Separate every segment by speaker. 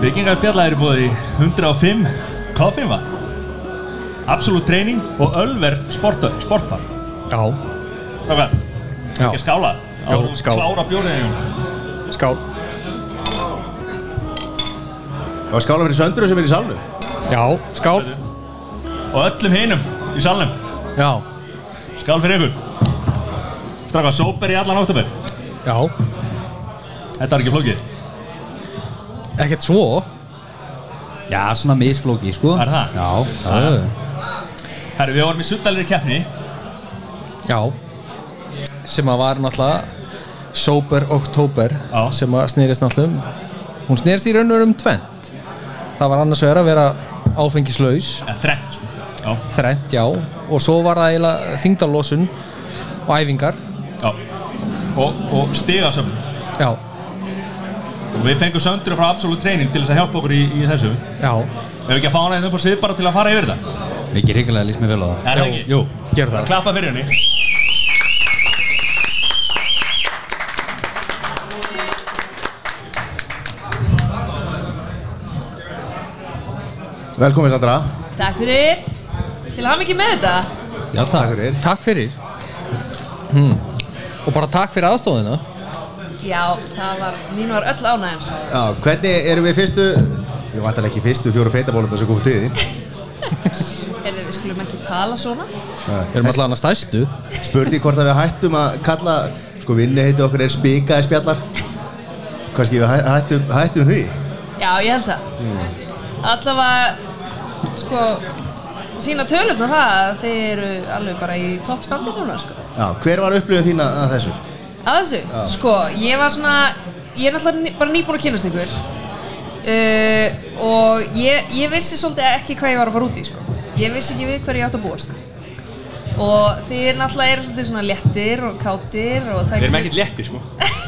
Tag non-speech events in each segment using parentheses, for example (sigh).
Speaker 1: Byggingar Bjalla er í búið í 105 Koffima Absolutt treyning og Ölver sporta, sportbar
Speaker 2: Já,
Speaker 1: Strákar,
Speaker 2: Já.
Speaker 1: ekki skála
Speaker 2: Jó,
Speaker 1: Áður en
Speaker 2: skál.
Speaker 1: Klára bjórið þig
Speaker 2: skál
Speaker 3: Það var skála fyrir söndru sem er í salnu
Speaker 2: Já, skál
Speaker 1: Og öllum hinum í salnum
Speaker 2: Já,
Speaker 1: Skál fyrir ykkur Strákar, sóper í allan áttabur
Speaker 2: já,
Speaker 1: Þetta var ekki flókið
Speaker 2: ekkert svo
Speaker 4: Já, svona misflóki, sko
Speaker 1: Er það?
Speaker 4: Já, það er það
Speaker 1: Herru, við vorum í suddalir keppni
Speaker 2: Já Sem að var náttúrulega Sober Oktober
Speaker 1: Já.
Speaker 2: Sem að snerist náttúrulega um Hún snerist í raun og veru um tvent Það var annars vegar að vera áfengislaus
Speaker 1: Eða þrengt Já,
Speaker 2: Þrennt, já Og svo var það eiginlega þingdalosun Og æfingar
Speaker 1: já Og, og stigasöfn
Speaker 2: Já,
Speaker 1: Og við fengum söndru frá Absolutt treyning til þess að hjálpa okkur í, í þessu
Speaker 2: já,
Speaker 1: Ef við ekki að fá hana hérna upp á svið bara til að fara yfir þetta
Speaker 4: Mikið ríkilega líst mér vel á það
Speaker 1: Er það ekki?
Speaker 2: jú, gerðu það
Speaker 1: Klappa fyrir henni
Speaker 3: Velkomin Sandra
Speaker 5: Takk fyrir Til hann ekki með þetta
Speaker 4: Já,
Speaker 3: Takk
Speaker 4: takk
Speaker 3: fyrir
Speaker 2: Takk fyrir hmm. Og bara takk fyrir aðstóðina
Speaker 5: Já, það var, mín var öll ánægjans
Speaker 3: Já, hvernig erum við fyrstu Ég vant alveg ekki fyrstu fjóru feitabólundar sem kom til þín
Speaker 5: Erðu, við skulum ekki tala svona
Speaker 2: Erum alltaf annars stæstu
Speaker 3: Spurði hvort að við hættum að kalla Sko vinni heitu okkur er spikaði spjallar Kanski við hæ- hættum, hættum því
Speaker 5: Já, ég held það mm. Allavega, sko sína tölurnar það að þið eru alveg bara í toppstandi núna sko.
Speaker 3: Já, hver var upplifun þín að að þessu?
Speaker 5: að þessu, sko, ég var svona ég er náttúrulega ný- bara nýbúin að kynast ykkur uh, og ég, ég vissi svolítið ekki hvað ég var að fara út í sko. ég vissi ekki við hverju ég átt að búast og þið er náttúrulega eru svolítið svona léttir og kátir og
Speaker 1: Við erum ekkert léttir, sko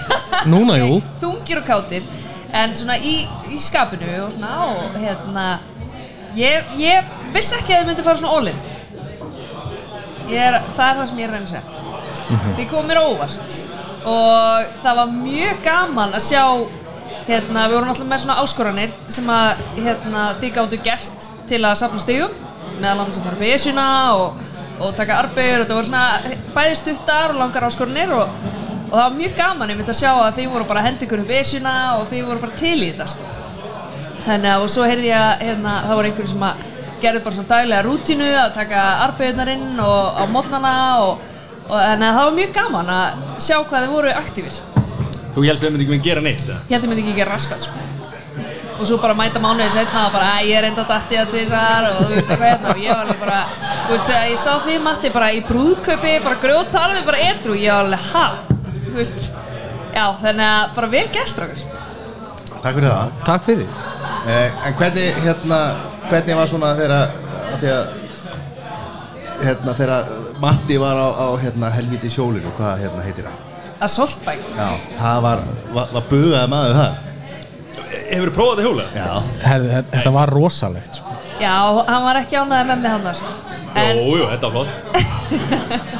Speaker 2: (laughs) Núna, jú
Speaker 5: þungir og kátir en svona í, í skapinu og svona og hérna ég, ég vissi ekki að þið myndi fara svona all-in Ég er, það er það sem ég er að reyna að segja þið komum mér á óvart og það var mjög gaman að sjá hérna, við vorum alltaf með svona áskoranir sem að hérna, þið gáttu gert til að safna stigum meðal annars að fara með esjuna og, og taka arbegur og það voru svona bæði stuttar og langar áskoranir og, og það var mjög gaman einmitt að sjá að þið voru bara að henda ykkur upp esjuna og þið voru bara til í þetta sko. Þannig að, og svo heyrði ég að hérna, það voru einhverjum sem að gerði bara svona daglega rútínu að taka arbeigurnar inn og á mótnana og, og þannig að það var mjög gaman að sjá hvað þið voru aktífir.
Speaker 1: Þú helst að við myndum ekki gera neitt, eða?
Speaker 5: Ég held að ég myndi ekki gera raskat sko. Og svo bara mæta mánuðið setna og bara að ég er enda datti að tvisar og þú veist eitthvað hérna og ég var alveg bara, þú veist þegar ég sá því Matti bara í brúðkaupi, bara grjótarði, bara edru, ég var alveg ha, þú veist, já þannig að bara vel gest okkur.
Speaker 3: Takk fyrir það
Speaker 2: Takk fyrir
Speaker 3: Eh, en hvernig, hérna, hvernig var svona þegar af því að hérna, þegar Matti var á, á hérna, helviti sjólinu, hvað hérna heitir hann?
Speaker 5: Að soltbæk.
Speaker 3: Já. Það var, var, var bugaði maður það?
Speaker 1: Hefur þú prófað að hjóla?
Speaker 3: Já.
Speaker 2: Herði, þetta- þetta var rosalegt sko.
Speaker 5: Já, hann var ekki ánæðið með mig hann þar sko. En
Speaker 1: Jú, jú, þetta var flott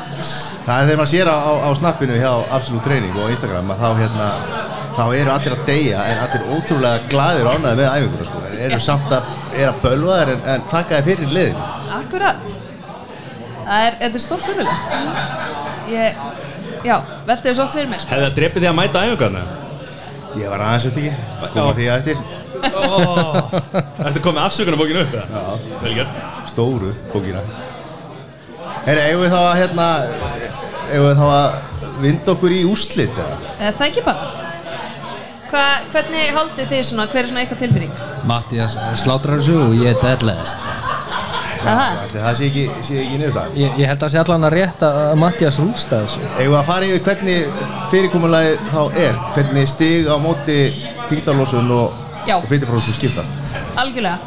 Speaker 3: Það er þegar maður sér á, á, á snappinu hjá Absolute Training og á Instagram að þá hérna þá eru allir að deyja en allir ótrúlega glaðir og ánæði með æfinguna sko en eru samt að, eru að bölva þær en, en taka þær fyrir liðin
Speaker 5: Akkurat Það er, þetta er stórfurulegt Ég, já, velti þessu oft fyrir mér sko.
Speaker 1: Hefði það drepið þig að mæta æfingarna?
Speaker 3: ég var aðeins eftir ekki koma því að eftir
Speaker 1: Ertu komið afsökunarbókinu upp, eða? Já Velgjör
Speaker 3: stóru bókina Herri, eigum við þá að hérna eigum við þá að vinda okkur í úrslit eða?
Speaker 5: Eh, Það ekki bara Hva, Hvernig haldið þið svona, hver er svona eitthvað tilfinning?
Speaker 4: Mattias slátrar þessu og ég deadlaðist
Speaker 5: Aha.
Speaker 3: Ætli Það sé ekki, sé ekki niður það
Speaker 2: ég, ég held að sé allan að uh, rétt að að Mattias rústa þessu
Speaker 3: Eigum við að fara yfir hvernig fyrirkomulagið þá er hvernig stig á móti þingdarlósun og,
Speaker 5: Já.
Speaker 3: og fyrirprófum skiptast
Speaker 5: Algjörlega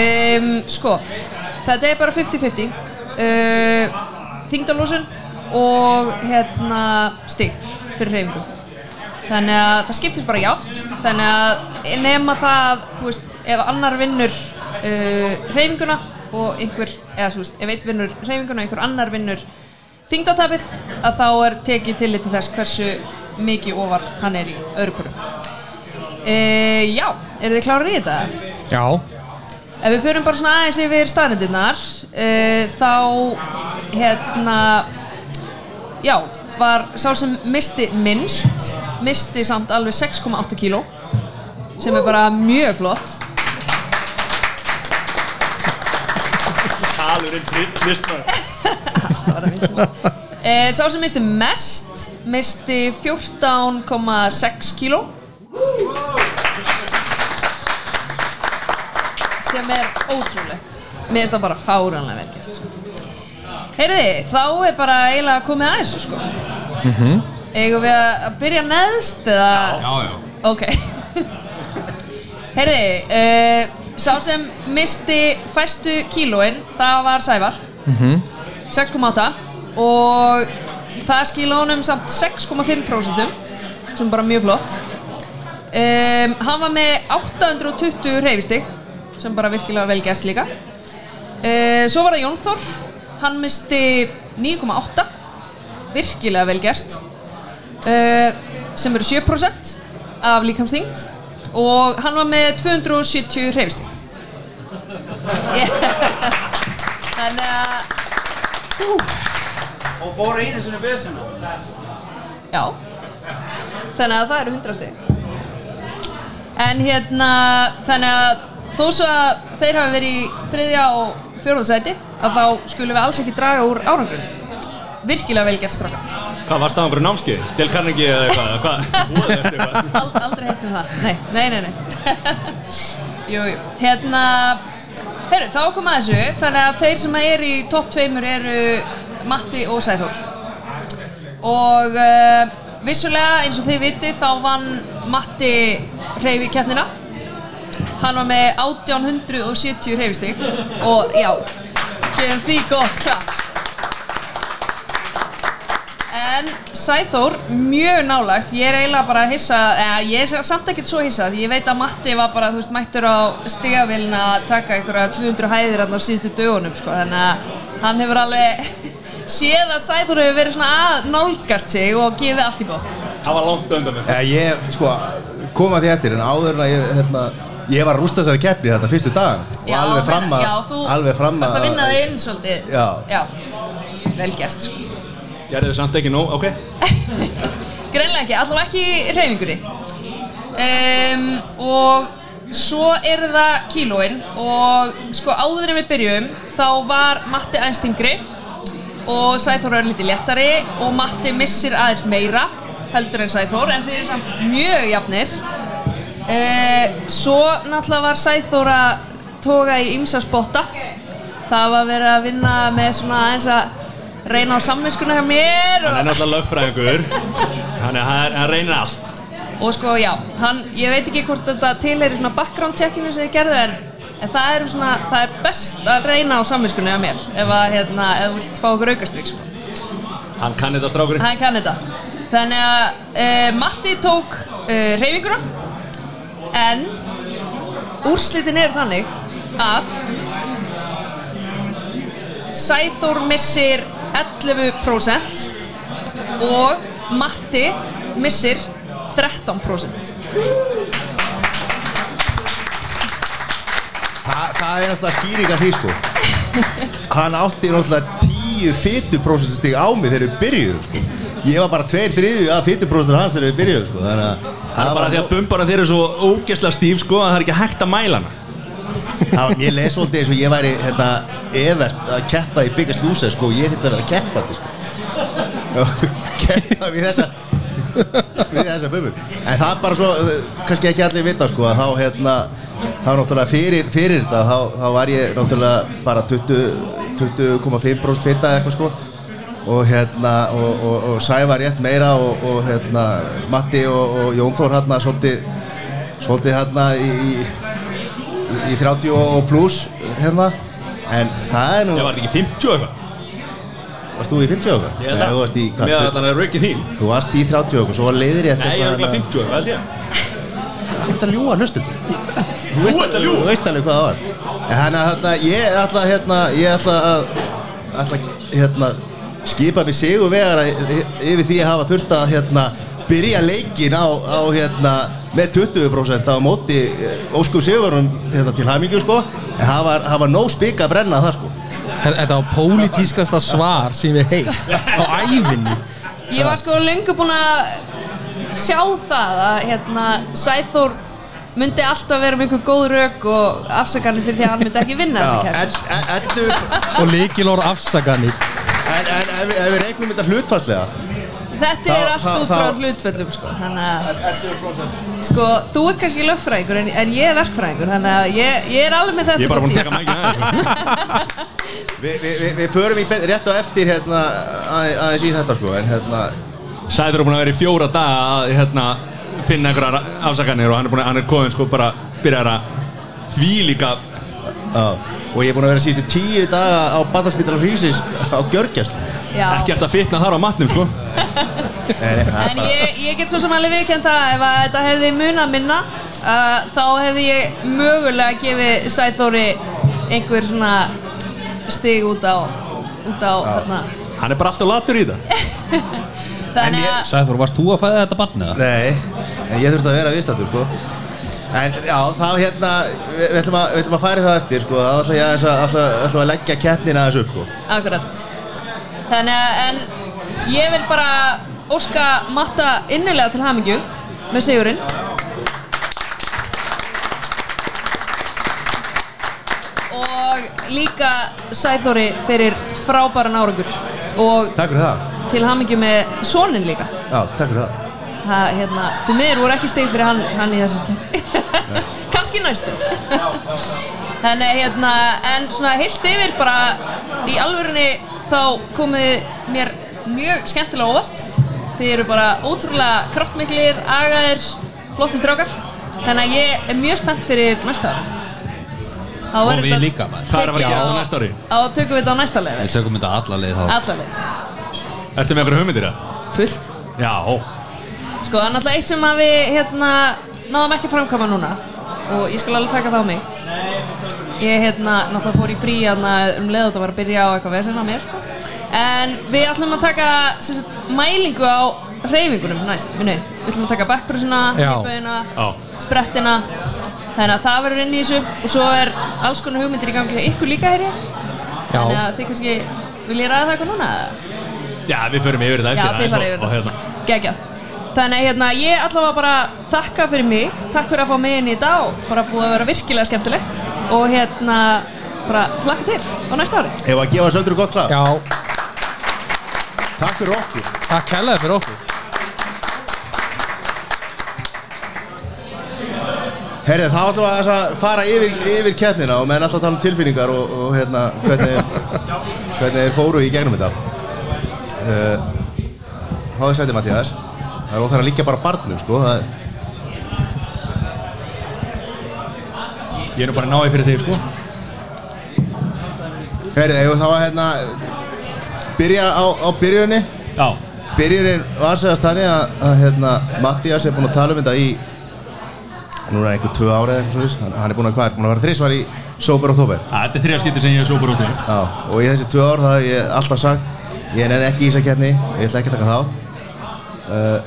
Speaker 5: um, Sko, þetta er bara 50-50 uh, Þingdalósun og hérna stig fyrir hreyfingu Þannig að það skiptist bara jáft Þannig að nema það, þú veist, ef annar vinnur uh, reyfinguna og einhver, eða svo veist, ef einn vinnur reyfinguna og einhver annar vinnur þingdatapið, að þá er tekið tillit til þess hversu mikið ofar hann er í öðru hverju. Uh, já, eru þið klárið í þetta?
Speaker 2: Já,
Speaker 5: Ef við förum bara svona aðeins yfir staðnendinnar uh, þá hérna já, var sá sem misti minnst misti samt alveg 6,8 kíló sem er bara mjög flott
Speaker 1: Salurinn trillist maður.
Speaker 5: uh, Sá sem misti mest misti 14,6 kíló sem er ótrúlegt Mér finnst það bara fáranlega vel gert sko. Heyrði, þá er bara eiginlega komið aðeins sko. mm -hmm. Eigum við að byrja neðst eða...
Speaker 1: Já, já.
Speaker 5: Ok Herði, uh, sá sem misti fæstu kílóin, það var Sævar 6,8 og það skila honum samt 6,5% sem er bara mjög flott um, Hann var með 820 reyfistig sem bara virkilega vel gert líka uh, Svo var það Jón Þór, hann misti 9,8 virkilega vel gert uh, sem eru 7% af líkamsþyngd og hann var með 270 hreyfistig yeah. (laughs) þannig að
Speaker 6: og fór einu sinni vesina
Speaker 5: já þannig að það eru 100 stig en hérna þannig að þó svo að þeir hafi verið í þriðja og fjórðarsæti að þá skulum við alls ekki draga úr árangrunni virkilega vel gert straka
Speaker 7: Hvað varst það á einhverju námskeið? Del Carnegie eða eitthvað? eða Hvað? Voða eftir eitthvað?
Speaker 5: Ald, aldrei heilt um það, nei, nei, nei, nei. (laughs) Jú, jú, hérna Heyrðu, þá kom að þessu Þannig að þeir sem eru í topp tveimur eru Matti og Sæþór Og uh, vissulega, eins og þið viti Þá vann Matti reyfi keppnina Hann var með 1870 reyfistig Og já, gefum því gott klart En Sæþór, mjög nálægt, ég er eiginlega bara að hissa, eða ég er samt ekkert svo hissa, því ég veit að Matti var bara, þú veist, mættur á stigavillin að taka einhverja 200 hæðir hann á síðustu dögunum, sko, þannig að hann hefur alveg (laughs) séð að Sæþór hefur verið svona að nálgast sig og gefið allt í bótt.
Speaker 7: Það var langt undan mér
Speaker 3: Eh, Ég, sko, kom að því eftir en áður en að ég, hérna, ég var að rústa þessari keppni þetta fyrstu dagan og alveg fram að,
Speaker 5: já, þú
Speaker 3: alveg fram
Speaker 5: varst að vinna þig inn svolítið.
Speaker 3: Já.
Speaker 5: Já, vel gert, sko.
Speaker 7: Gerðu þið samt ekki nóg, ok?
Speaker 5: Greinlega ekki, allavega ekki reyfingunni um, Og svo er það kílóin Og sko áður en við byrjum Þá var Matti aðeins þingri Og Sæþór er lítið léttari Og Matti missir aðeins meira Heldur en Sæþór En þeir eru samt mjög jafnir uh, Svo náttúrulega var Sæþór að Toga í ymsa spotta Það var verið að vinna með svona aðeins að reyna á samvinskuna hjá mér og
Speaker 7: Hann er náttúrulega lögfræðingur Þannig að hann- hann reynir allt
Speaker 5: og sko já, hann, ég veit ekki hvort þetta tilheyri svona background checkinu sem þið gerðu en, en það er svona, það er best að reyna á samvinskunni af mér ef að, hérna, ef þú vilt fá okkur aukastvík sko.
Speaker 7: Hann kann þetta strákurinn
Speaker 5: hann kann þetta þannig að uh, Matti tók uh, reyfinguna en úrslitin eru þannig að Sæþór missir 11% og Matti missir 13%
Speaker 3: Þa, það er náttúrulega skýring að því sko Hann átti náttúrulega 10 fytuprósentstig á mig þegar við byrjuðum sko Ég var bara 2-3 af fytuprósentur hans þegar við byrjuðum sko Þannig að
Speaker 7: Það er bara hérna. því að bumbarna þeir eru svo ógeðslega stíf sko að það er ekki hægt að mæla hana
Speaker 3: Já, ég les svolítið eins og ég væri hérna, evert að keppa í Biggest Loser sko, og ég þurfti að vera keppandi sko. Og keppa við þessa við þessa bubur en það er bara svo, eh, kannski ekki allir vita sko, að þá hérna þá náttúrulega fyrir, fyrir þetta þá, þá var ég náttúrulega bara 20 20,5% fitta eitthvað sko og hérna og, og, og Sævar rétt meira og, og hérna Matti og, og Jón Þór hérna svolítið svolítið hérna í, í í 30 og pluss hérna en það er nú,
Speaker 7: Ég var þetta ekki 50 og eitthvað
Speaker 3: varst þú í 50 og eitthvað?
Speaker 7: Ég held
Speaker 3: Nei,
Speaker 7: að-
Speaker 3: þú varst í, hvað,
Speaker 7: Meðan allan er raukið þín
Speaker 3: þú- þú varst í
Speaker 7: Hérna,
Speaker 3: 30 og eitthvað, hérna. svo var leiðir ég
Speaker 7: Nei, ég er ekki 50 og eitthvað held ég
Speaker 3: Hvað er þetta að ljúa hlustum? Þú veist alveg- Þú veist alveg hvað það var En Þannig að þarna, ég ætla hérna Ég ætla að ætla, að, hérna, skipa mig sigur vegar yfir því að hafa þurft að hérna, byrja leikin á, á hérna, með 20% á móti eh, óskum sigurunum hérna, til hamingju sko en hafa, hafa nóg spika að brenna það sko
Speaker 2: Þetta var pólitískasta svar sem ég heit á ævinni
Speaker 5: Ég var sko lengur búin að sjá það að hérna, Sæþór myndi alltaf vera með einhver góð rök og afsakarnir fyrir því að hann myndi ekki vinna þessi
Speaker 3: Já,
Speaker 5: kæft.
Speaker 3: en, en, en,
Speaker 2: og leikilor afsaganir
Speaker 3: en, en ef, við- ef við regnum þetta hlutfarslega
Speaker 5: Þetta
Speaker 3: þá-
Speaker 5: er allt
Speaker 3: þá-
Speaker 5: út frá
Speaker 3: þá-
Speaker 5: hlutföllum sko, þannig að sko, þú ert kannski lögfræðingur en, en ég er verkfræðingur, þannig að ég, ég er alveg með þetta
Speaker 7: Ég er bara búin að
Speaker 5: til.
Speaker 7: taka mækina aðeins
Speaker 3: við vi, vi, vi förum í beint- rétt á eftir hérna, að, aðeins í þetta sko en hérna
Speaker 7: Sæður er búin að vera í fjóra daga að hérna, finna einhverjar afsakanir og hann er, búin, að- hann er komin sko bara byrjar að því líka
Speaker 3: á, og ég er búin að vera síðustu tíu daga á Badarspítal Hrísins á Gjörgjast
Speaker 5: Já.
Speaker 7: ekki eftir að fitna þar á matnum sko
Speaker 5: En ég, ég get svo sem alveg viðkjönd það ef að þetta hefði munað minna uh, þá hefði ég mögulega gefið Sæþóri einhver svona stig út á út á hérna
Speaker 7: Hann er bara alltaf latur í það
Speaker 5: þannig að
Speaker 4: Sæður, varst þú að fæða þetta barnið?
Speaker 3: Nei, en ég þurfti að vera viðstættur sko En já, þá hérna, við, við, ætlum að, við ætlum að fara í það eftir sko Þá ætla ég aðeins að, ætla, ætla að leggja keppnina aðeins upp sko
Speaker 5: akkurat þannig að en ég vil bara óska matta innilega til hamingju með sigurinn og líka Sæþóri fyrir frábæran árangur og
Speaker 3: Takk fyrir það
Speaker 5: til hamingju með sonin líka
Speaker 3: Já, takk fyrir það
Speaker 5: það, hérna, því miður voru ekki stig fyrir hann, hann í þessar kemni (laughs) kannski næstu þannig að, hérna, en svona heilt yfir bara í alvörunni þá komið mér mjög skemmtilega óvart þið eru bara ótrúlega kraftmiklir agaðir, flottir strákar þannig að ég er mjög spennt fyrir næsta ára
Speaker 4: Og við líka, maður.
Speaker 7: Hvað er að fara að gerast á næsta ári?
Speaker 5: á tökum við þetta á næsta lefi
Speaker 4: Við tökum þetta alla leið þá
Speaker 5: allaleg,
Speaker 7: Ertu með einhverja hugmyndir það?
Speaker 5: fullt
Speaker 7: Já, ó.
Speaker 5: Sko, það er náttúrulega eitt sem að við hérna, náðum ekki að framkvæma núna og ég skal alveg taka það á mig Ég hérna, náttúrulega fór í frí hérna, um leið og þetta var að byrja á eitthvað vesinn á mér sko. En við ætlum að taka sem sagt, mælingu á hreyfingunum næst, minni Við ætlum að taka backpressuna,
Speaker 2: Já.
Speaker 5: hipböðina,
Speaker 7: Já.
Speaker 5: sprettina Þannig að það verður inn í þessu og svo er alls konar hugmyndir í gangi hjá ykkur líka hér
Speaker 2: Já.
Speaker 5: Þannig að þið kannski, vil ég ræða það eitthvað núna? eða?
Speaker 7: Já, við förum yfir þetta
Speaker 5: Já,
Speaker 7: eftir aðeins
Speaker 5: þið fara
Speaker 7: og-
Speaker 5: yfir
Speaker 7: og
Speaker 5: það.
Speaker 7: hérna.
Speaker 5: Gegja. Þannig að hérna, ég allavega bara þakka fyrir mig, takk fyrir að fá mig inn í dag og bara búið að vera virkilega skemmtilegt og hérna bara hlakka til á næsta ári.
Speaker 3: Ef að gefa söndru gott klap
Speaker 2: Já,
Speaker 3: Takk fyrir okkur
Speaker 2: takk hella fyrir okkur
Speaker 3: Herri, þá ætlum við aðeins að fara yfir, yfir keppnina og menn alltaf að tala um tilfinningar og, og hérna, hvernig, hvernig þeir fóru í gegnum þetta uh, Háðu sæti Mattias Það er óþæra að liggja bara á barnum sko það,
Speaker 7: Ég er nú bara að ná í fyrir þig sko
Speaker 3: Herri, eigum við þá að hérna byrja á, á byrjunni
Speaker 1: Já,
Speaker 3: Byrjunin var segast þannig að, að hérna, Mattias er búinn að tala um þetta í núna einhver tvö ára eða eitthvað svoleiðis hann, hann er búinn að, hvað, er búinn að vera þrísvar í Sober og Tober
Speaker 1: að, þetta er þrjá skipti sem ég er sópar út í
Speaker 3: Já, og í þessi tvö ár það hef ég alltaf sagt ég nenni ekki í þessa keppni, ég ætla ekki að taka þátt uh,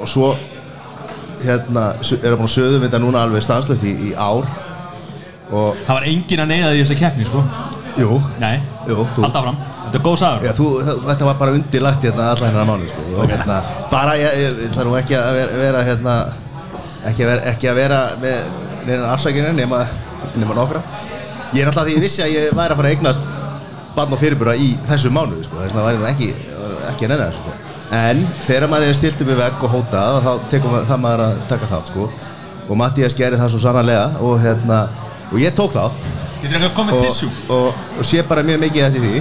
Speaker 3: og svo hérna, su- er það búinn að söðum þetta núna alveg stanslöft í, í ár og,
Speaker 1: Það var engin að neyða því þessa keppni, sko
Speaker 3: jú,
Speaker 1: Nei,
Speaker 3: jú, þú
Speaker 1: halda áfram Þetta er góð sagur
Speaker 3: Já, þú, þa- þetta var bara undirlagt hérna alla hennar mánu sko. og hérna, bara ég, ég, ég ætla nú ekki að vera, vera hérna, ekki að vera, ekki að vera með neina afsækina nema, nema nokkra ég er alltaf því ég vissi að ég væri að fara að eignast barn og fyrirbura í þessu mánu sko. þess vegna væri nú ekki, ekki að nenni það sko. en þegar maður er stilt upp í vegg og hótað þá tekur maður, það maður að taka þátt sko. og Mattias gerir það svo sannarlega og, hérna, og ég tók þátt
Speaker 1: Getur eitthvað komið
Speaker 3: og,
Speaker 1: tissú?
Speaker 3: og, og sé bara mjög mikið eftir því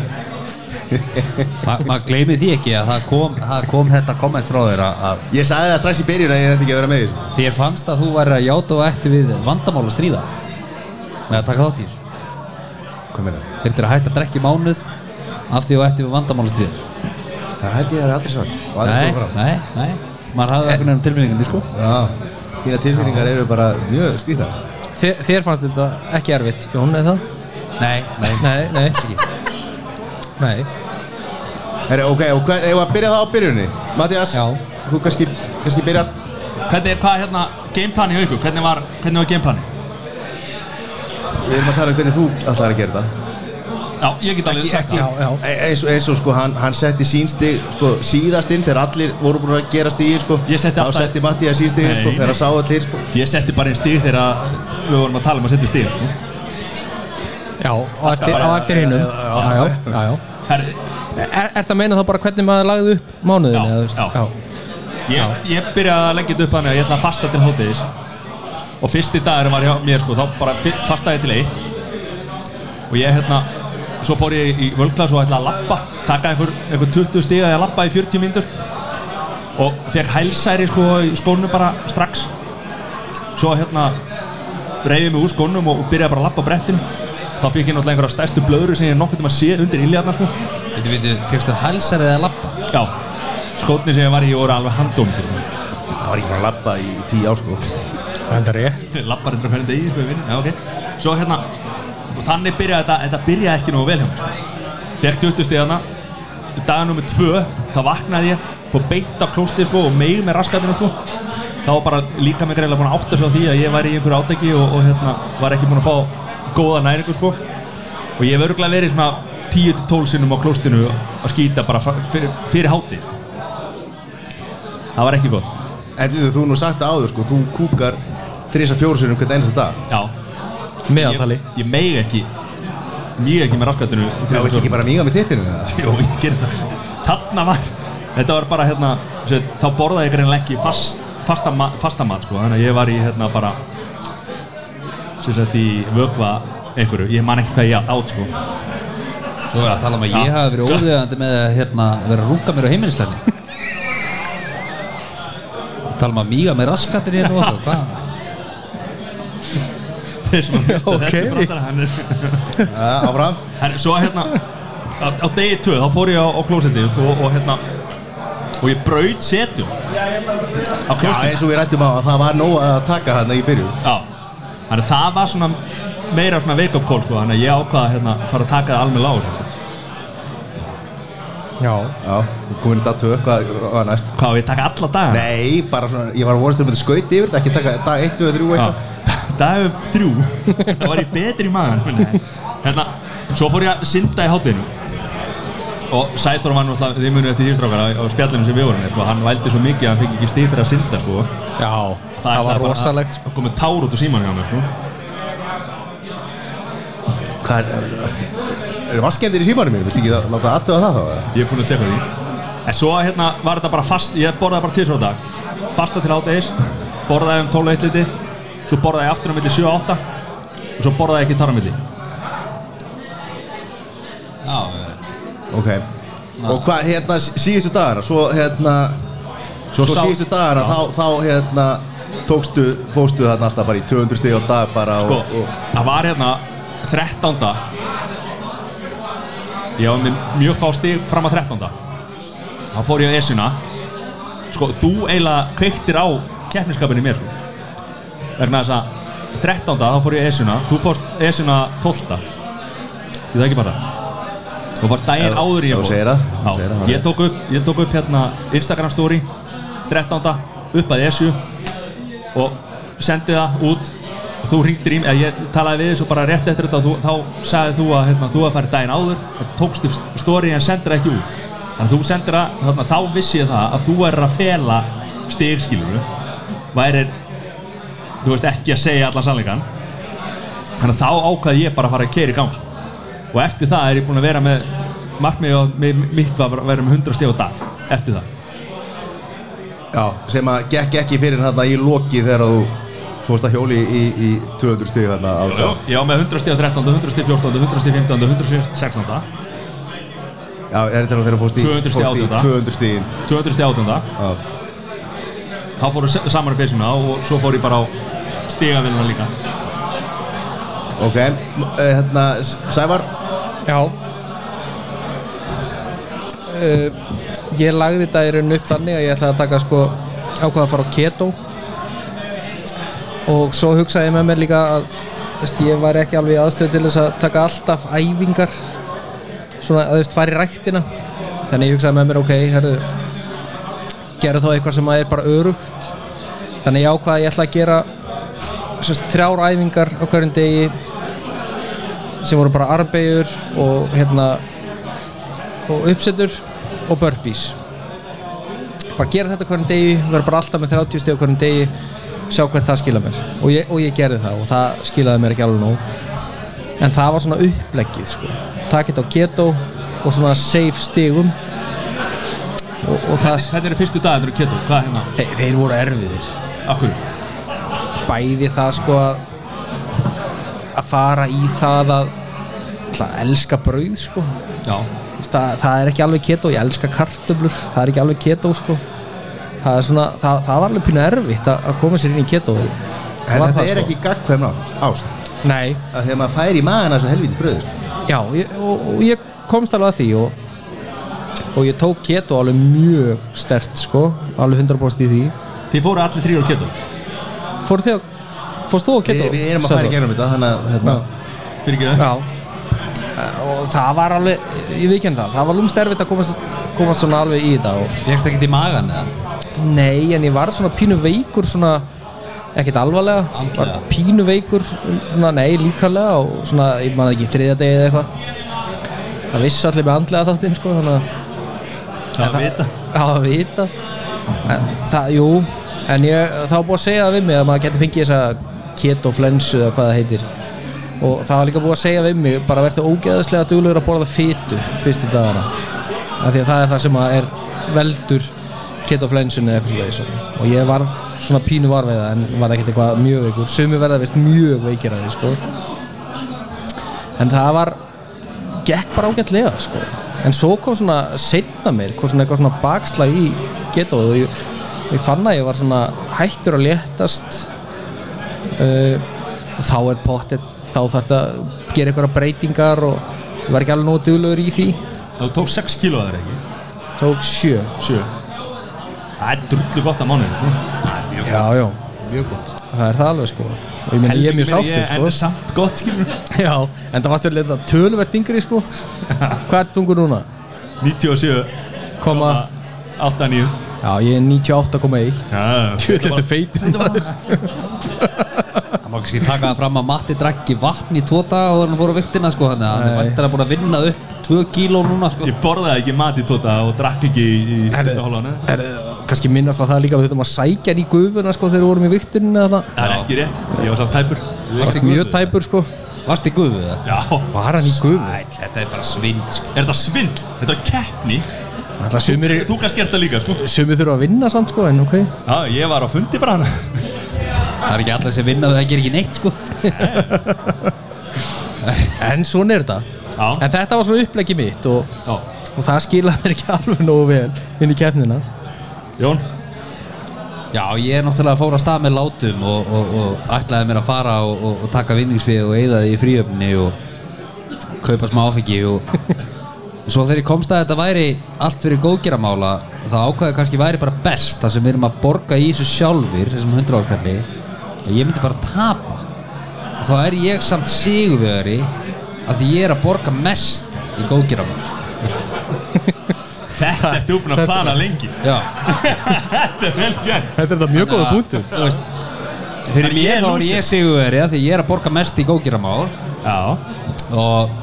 Speaker 4: Ma- Maður gleymið því ekki að það kom, það kom þetta komment frá þér að, að
Speaker 3: Ég sagði það strax í byrjun að ég ætti ekki að vera með í þessu
Speaker 4: þér fannst að þú væri að játa og ætti við vandamál að stríða með að taka þátt í þessu
Speaker 3: Hvað meina það?
Speaker 4: Þyrftir að hætta að drekka í mánuð af því og ætti við vandamál að stríða
Speaker 3: Það held ég að það aldrei sagt og aldrei
Speaker 4: Nei,
Speaker 3: komið fram
Speaker 4: nei,
Speaker 2: Eh.
Speaker 4: nei Maður hafði einhvern veginn tilfinningunni sko
Speaker 3: Já, þína tilfinningar eru bara mjög skrýta
Speaker 2: þér, þér fannst þetta ekki erfitt, Jón, eða?
Speaker 4: Nei, nei,
Speaker 2: Nei, nei, nei.
Speaker 3: Herri, ok, og hvað, hefur að byrja það á byrjunni? Mattias,
Speaker 2: Já.
Speaker 3: þú kannski, kannski byrjar
Speaker 1: Hvernig, hvað er hérna gameplani hjá ykkur? Hvernig var, hvernig var gameplani?
Speaker 3: Við erum að tala um hvernig þú ætlar að gera þetta
Speaker 1: Já, ég get alveg sagt
Speaker 2: Já,
Speaker 1: það
Speaker 2: já,
Speaker 3: E- eins, og- eins og sko, hann, hann setti sínstig sko, síðast inn þegar allir voru búin að gera stíð sko.
Speaker 1: Ég setti
Speaker 3: Þá
Speaker 1: alltaf-
Speaker 3: setti Mattias sínstig
Speaker 1: Nei,
Speaker 3: sko, þegar
Speaker 1: nei.
Speaker 3: hann sá allir sko.
Speaker 1: Ég setti bara einn stíð þegar að við vorum að tala um að setja stíð sko.
Speaker 2: já, á eftir, á eftir hinnum. Já, já, já, já.
Speaker 1: Herri,
Speaker 2: Er, ertu að meina þá bara hvernig maður lagði upp mánuðinu?
Speaker 1: Já,
Speaker 2: eða, þú veist?
Speaker 1: já. Ég, ég byrjaði að leggja þetta upp þannig að ég ætla að fasta til hátíðis og fyrsti dagur var hjá mér sko, þá bara fi- fastaði ég til eitt og ég hérna svo fór ég í völklass og ætlaði að lappa taka einhver, einhver 20 stiga að lappa í 40 mínútur og fekk hælsæri sko í skónum bara strax svo hérna reyfið mig úr skónum og byrjaði bara að lappa á brettinu þá fekk ég náttúrulega einhverja stærstu blöðru sem ég nokkuð um að sé undir iljarnar sko
Speaker 4: Veitu, veitu, fegstu hælsar eða lappa?
Speaker 1: já, skótni sem ég var í voru alveg handóndir
Speaker 3: Það var ekki bara að labba í tíu ár sko. (laughs)
Speaker 2: Það er ég.
Speaker 1: lappar hundra hverjum degi sko, í vinnu, já ok svo hérna, og þannig byrjaði þetta þetta byrjaði ekki nógu vel hjá mér fekk 20 stíðana dagar nummið 2, þá vaknaði ég fór beint á klóstið sko og meig með raskatinn sko. þá var bara líka mig greiðlega búin að átta svo því að ég var í einhverju átæki og, og hérna, var ekki búin að fá góða næringu sko og ég hef örgulega verið svona 10-12 sinnum á klóstinu að skýta bara fra- fyrir, fyrir hátið það var ekki gott
Speaker 3: En við þú nú sagt það áður sko, þú kúkar þrisa fjóru sinum hvern einasta dag
Speaker 1: já,
Speaker 2: Meðaltali.
Speaker 1: Ég, ég meig ekki Mýg ekki með raskatinu
Speaker 3: Já, viltu ekki bara míga með tippinu með það?
Speaker 1: Jó, ég ger það Þarna var Þetta var bara hérna sér, Þá borðaði ég greinlega ekki fast, fasta, ma- fasta mat sko Þannig að ég var í hérna bara Sér sett í vökva einhverju Ég man ekki hvað ég átt sko (laughs)
Speaker 4: Svo er að tala um að ég
Speaker 1: Já.
Speaker 4: hafi verið óðegandi með að hérna, vera að runga mér á heimilisleginni Tala um að míga með raskatir hérna og okkur, hvað?
Speaker 1: Þeir sem að hlusta
Speaker 2: Ok.
Speaker 1: þessu brandara, hann er-
Speaker 3: Já, áfram
Speaker 1: Herri, svo hérna á, á degi 2 þá fór ég á, á klósetti og, og hérna og ég braut setjum á
Speaker 3: Já,
Speaker 1: klósetti
Speaker 3: eins og við rættum á að það var nóg að taka hann í byrjun
Speaker 1: Já, þannig að það var svona meira svona wake-up call sko, þannig að ég ákvaða hérna að fara að taka það alveg lág sko.
Speaker 2: Já.
Speaker 3: Já, þú komin í datu, hvað hvað var næst?
Speaker 1: Hvað, á ég að taka alla daga?
Speaker 3: Nei, bara svona, ég var að vonast um að þetta skauti yfir þetta, ekki taka dag 1, 2, 3 eitthvað
Speaker 1: Já, dagur þrjú, það var ég betri í maðan Hérna, svo fór ég að synda í hátinu og Sæþór var náttúrulega, þið munið eftir hýstrákar á, á spjallinu sem við vorum með, sko, hann vældi svo mikið að hann fekk ekki stíð fyrir að synda sko.
Speaker 2: Já. Það, var rosalegt. sko.
Speaker 1: Það komið tár út úr síman hjá mér sko.
Speaker 3: Hvað er, eru vaskemdir í símanum mínum, viltu ekki það- láta aðtöða það þá? eða?
Speaker 1: Ég er búinn að tjekka því En svo hérna var þetta bara fast Ég borðaði bara tísra á dag Fasta til átegis Borðaði um 12 eitt liti Svo borðaði ég aftur á milli 7 og 8 Og svo borðaði ég ekki þar á milli
Speaker 3: Ok, og hvað, hérna, sí- síðustu dagana, svo hérna,
Speaker 1: Svo
Speaker 3: svo,
Speaker 1: sá-
Speaker 3: síðustu dagana, þá, þá hérna, tókstu, fóstu þarna alltaf bara í 200 stig á dag bara
Speaker 1: Sko,
Speaker 3: og, og
Speaker 1: það var hérna 13. Ég var með mjög fá stig fram að 13. Þá fór ég á Esuna Sko, þú eiginlega kveiktir á keppniskapinu í mér sko. Vegna þess að 13. þá fór ég á Esuna Þú fórst Esuna 12. Ég það ekki bara Þú fórst daginn
Speaker 3: Ef-
Speaker 1: áður en
Speaker 3: ef
Speaker 1: ég
Speaker 3: þú
Speaker 1: fór
Speaker 3: segir það, ef þú
Speaker 1: Já,
Speaker 3: segir það,
Speaker 1: ég, tók upp, ég tók upp hérna Instagram story 13. upp að Esu og sendi það út og þú ringdir í mig, eða ég talaði við þessu bara rétt eftir þetta og þú, þá sagði þú að hérna, þú að fara daginn áður og tókst upp story en sendir það ekki út þannig að þú sendir það, þannig að þá vissi ég það að þú er að fela stigskilur væri þú veist ekki að segja allan sannleikan þannig að þá ákvaði ég bara að fara að keira í gang sko. og eftir það er ég búinn að vera með markmið og með, mitt var að vera með 100 stig á dag eftir það
Speaker 3: Já, sem að gekk ekki fyrir þarna í loki þegar þú fórst að hjóli í, í, í 200 stig þarna á
Speaker 1: Já,
Speaker 3: dag.
Speaker 1: já, með 100 stíð á 13, 100 stíð 14, 100 stíð 15, 100 stíð 16,
Speaker 3: Já, er þetta þegar þú fórst í
Speaker 1: 200 stig á
Speaker 3: fórst í
Speaker 1: þetta.
Speaker 3: 200 stigin.
Speaker 1: 200 stíð 18
Speaker 3: Já,
Speaker 1: þá fóru se- saman að beysuna og svo fór ég bara á stigavélina líka
Speaker 3: ok, M- eh, hérna, S- Sævar,
Speaker 2: Já. Uh, ég lagði þetta í raun upp þannig að ég ætlaði að taka sko ákvaða að fara á keto og svo hugsaði ég með mér líka að veist, ég var ekki alveg aðstöð til þess að taka alltaf æfingar svona að þú veist fara í ræktina þannig ég hugsaði með mér ok, herðu gera þá eitthvað sem að er bara örugt þannig ég ákvaði að ég ætla að gera sérst, þrjár æfingar á hverjum degi sem voru bara armbeigur og hérna og uppsetur og burpees bara gera þetta hverjum degi vera bara alltaf með 30 stíð hverjum degi sjá hvert það skila mér og ég, og ég gerði það og það skilaði mér ekki alveg nóg en það var svona uppleggið sko. takit á keto og svona safe stigum og, og það
Speaker 1: Hvernig eru fyrstu dagarnir á keto? Hvað er hérna?
Speaker 2: þeir, þeir voru erfiðir
Speaker 1: Akkur?
Speaker 2: bæði það sko að að fara í það að að elska brauð sko
Speaker 1: Já
Speaker 2: það, það er ekki alveg keto, ég elska kartöflur það er ekki alveg keto sko það, er svona, það, það var alveg pínu erfitt að, að koma sér inn í keto en
Speaker 3: En þetta er ekki gagkvæm ást, ást.
Speaker 2: sko. nei,
Speaker 3: Af Þegar maður fær í maðan þessu helvítið bröður
Speaker 2: já, ég, og, og ég komst alveg að því og, og ég tók keto alveg mjög stert sko, alveg 100% í því
Speaker 1: Þið fóru allir þrýr á keto
Speaker 2: fór þið að, fórst þú á
Speaker 3: Við
Speaker 2: keto?
Speaker 3: við erum að fara í
Speaker 2: Sölvar?
Speaker 3: gegnum þetta Þannig að hérna,
Speaker 1: Fyrir ekki það?
Speaker 2: Já Eh, og það var alveg, ég viðkjönda það það var lúmst erfitt að komast, komast svona alveg í þetta og
Speaker 4: Fegst ekkert í magan eða?
Speaker 2: Nei, en ég var svona pínu veikur svona, ekkert alvarlega
Speaker 4: Andlega?
Speaker 2: Var pínu veikur, svona nei, líkarlega og svona, ég man ekki, þriðja degi eða eitthvað það vissi allir með andlega þáttinn sko, þannig að
Speaker 1: Það vita
Speaker 2: Já, að vita en, það, jú, en ég, það var búið að segja það við mig að maður geti fengið þessa ketoflensu eða hvað það heitir og það var líka búið að segja við mig bara verður ógeðaslega duglegur að borða fytu fyrstu dagana af því að það er það sem að er veldur ketoflensunni eða eitthvað svona og ég varð svona pínu var við það en var ekkert eitthvað mjög veikur sumi verða vist mjög veikir að því sko en það var gekk bara ágætlega sko. en svo kom svona setna mér kom svona eitthvað svona bakslag í getóð og ég, ég fann að ég var svona hættur að léttast uh, þá er pottet þá þarf þetta að gera eitthvað breytingar og ég var ekki alveg nógu duglegur í því
Speaker 1: Þú tók 6 kilo að það ekki?
Speaker 2: tók sjö
Speaker 1: 7 Það er drullu gott sko. að mánuði
Speaker 2: já, já,
Speaker 3: mjög gott
Speaker 2: það er það alveg sko og ég, meni, ég er mjög sáttur sko
Speaker 1: En samt gott skilur
Speaker 2: (laughs) já, en það varstu að leta tölverð þingri (laughs) sko hvað er þungur núna?
Speaker 1: 97
Speaker 2: koma,
Speaker 1: 89
Speaker 2: já ég er 98,1
Speaker 1: Já,
Speaker 2: þetta feitur
Speaker 4: Það má kannski taka það fram að Matti drakk í vatn í tvo daga og hann fór á viktina sko þannig að hann er
Speaker 2: Nei.
Speaker 4: vantar að búin að vinna upp tvö kíló núna sko
Speaker 1: Ég borðaði ekki mat í tóta og drakk ekki í hálfana
Speaker 2: er, kannski minnast að það líka við þurfum að sækja hann í gufuna sko þegar við vorum í viktuninu eða það
Speaker 1: Það er ekki rétt, ég var samt tæpur
Speaker 2: það var mjög tæpur sko
Speaker 4: Varst í guðu það?
Speaker 1: Já,
Speaker 2: var hann í gufu?
Speaker 4: Æ, þetta er bara svind sko
Speaker 1: er þetta svindl? Þetta er keppni
Speaker 2: Alltaf sumir,
Speaker 1: Þú kannski ert það líka, sko
Speaker 2: sumir þurfa að vinna samt sko en ok
Speaker 1: Já, ég var á fundi bara hana
Speaker 4: Það er ekki allir sem vinna það gerir ekki neitt sko
Speaker 2: en svona er þetta
Speaker 1: Já,
Speaker 2: en þetta var svona uppleggi mitt og,
Speaker 1: já
Speaker 2: og það skilaði mér ekki alveg nógu vel inn í keppnina
Speaker 1: Jón,
Speaker 4: Já, ég er náttúrulega að fóra að stað með látum og, og, og ætlaði mér að fara og, og, og taka vinningsfið og eigða því í fríöfni og kaupa smá áfengi og (laughs) svo þegar ég komst að þetta væri allt fyrir góðgeramála þá ákvaði kannski væri bara best það sem við erum að borga í þessu sjálfur þessum 100 áskalli að ég myndi bara tapa og þá er ég samt sigurvegari að því ég er að borga mest í góðgeramála
Speaker 1: þetta ertu uppin að plana lengi
Speaker 4: Já
Speaker 1: Þetta er vel gert
Speaker 2: þetta er þetta mjög góða punktur
Speaker 4: Þú veist, fyrir
Speaker 1: En ég er
Speaker 4: mér þá er
Speaker 1: lúsir.
Speaker 4: ég sigurveri því ég er að borga mest í góðgeramál
Speaker 1: Já,
Speaker 4: og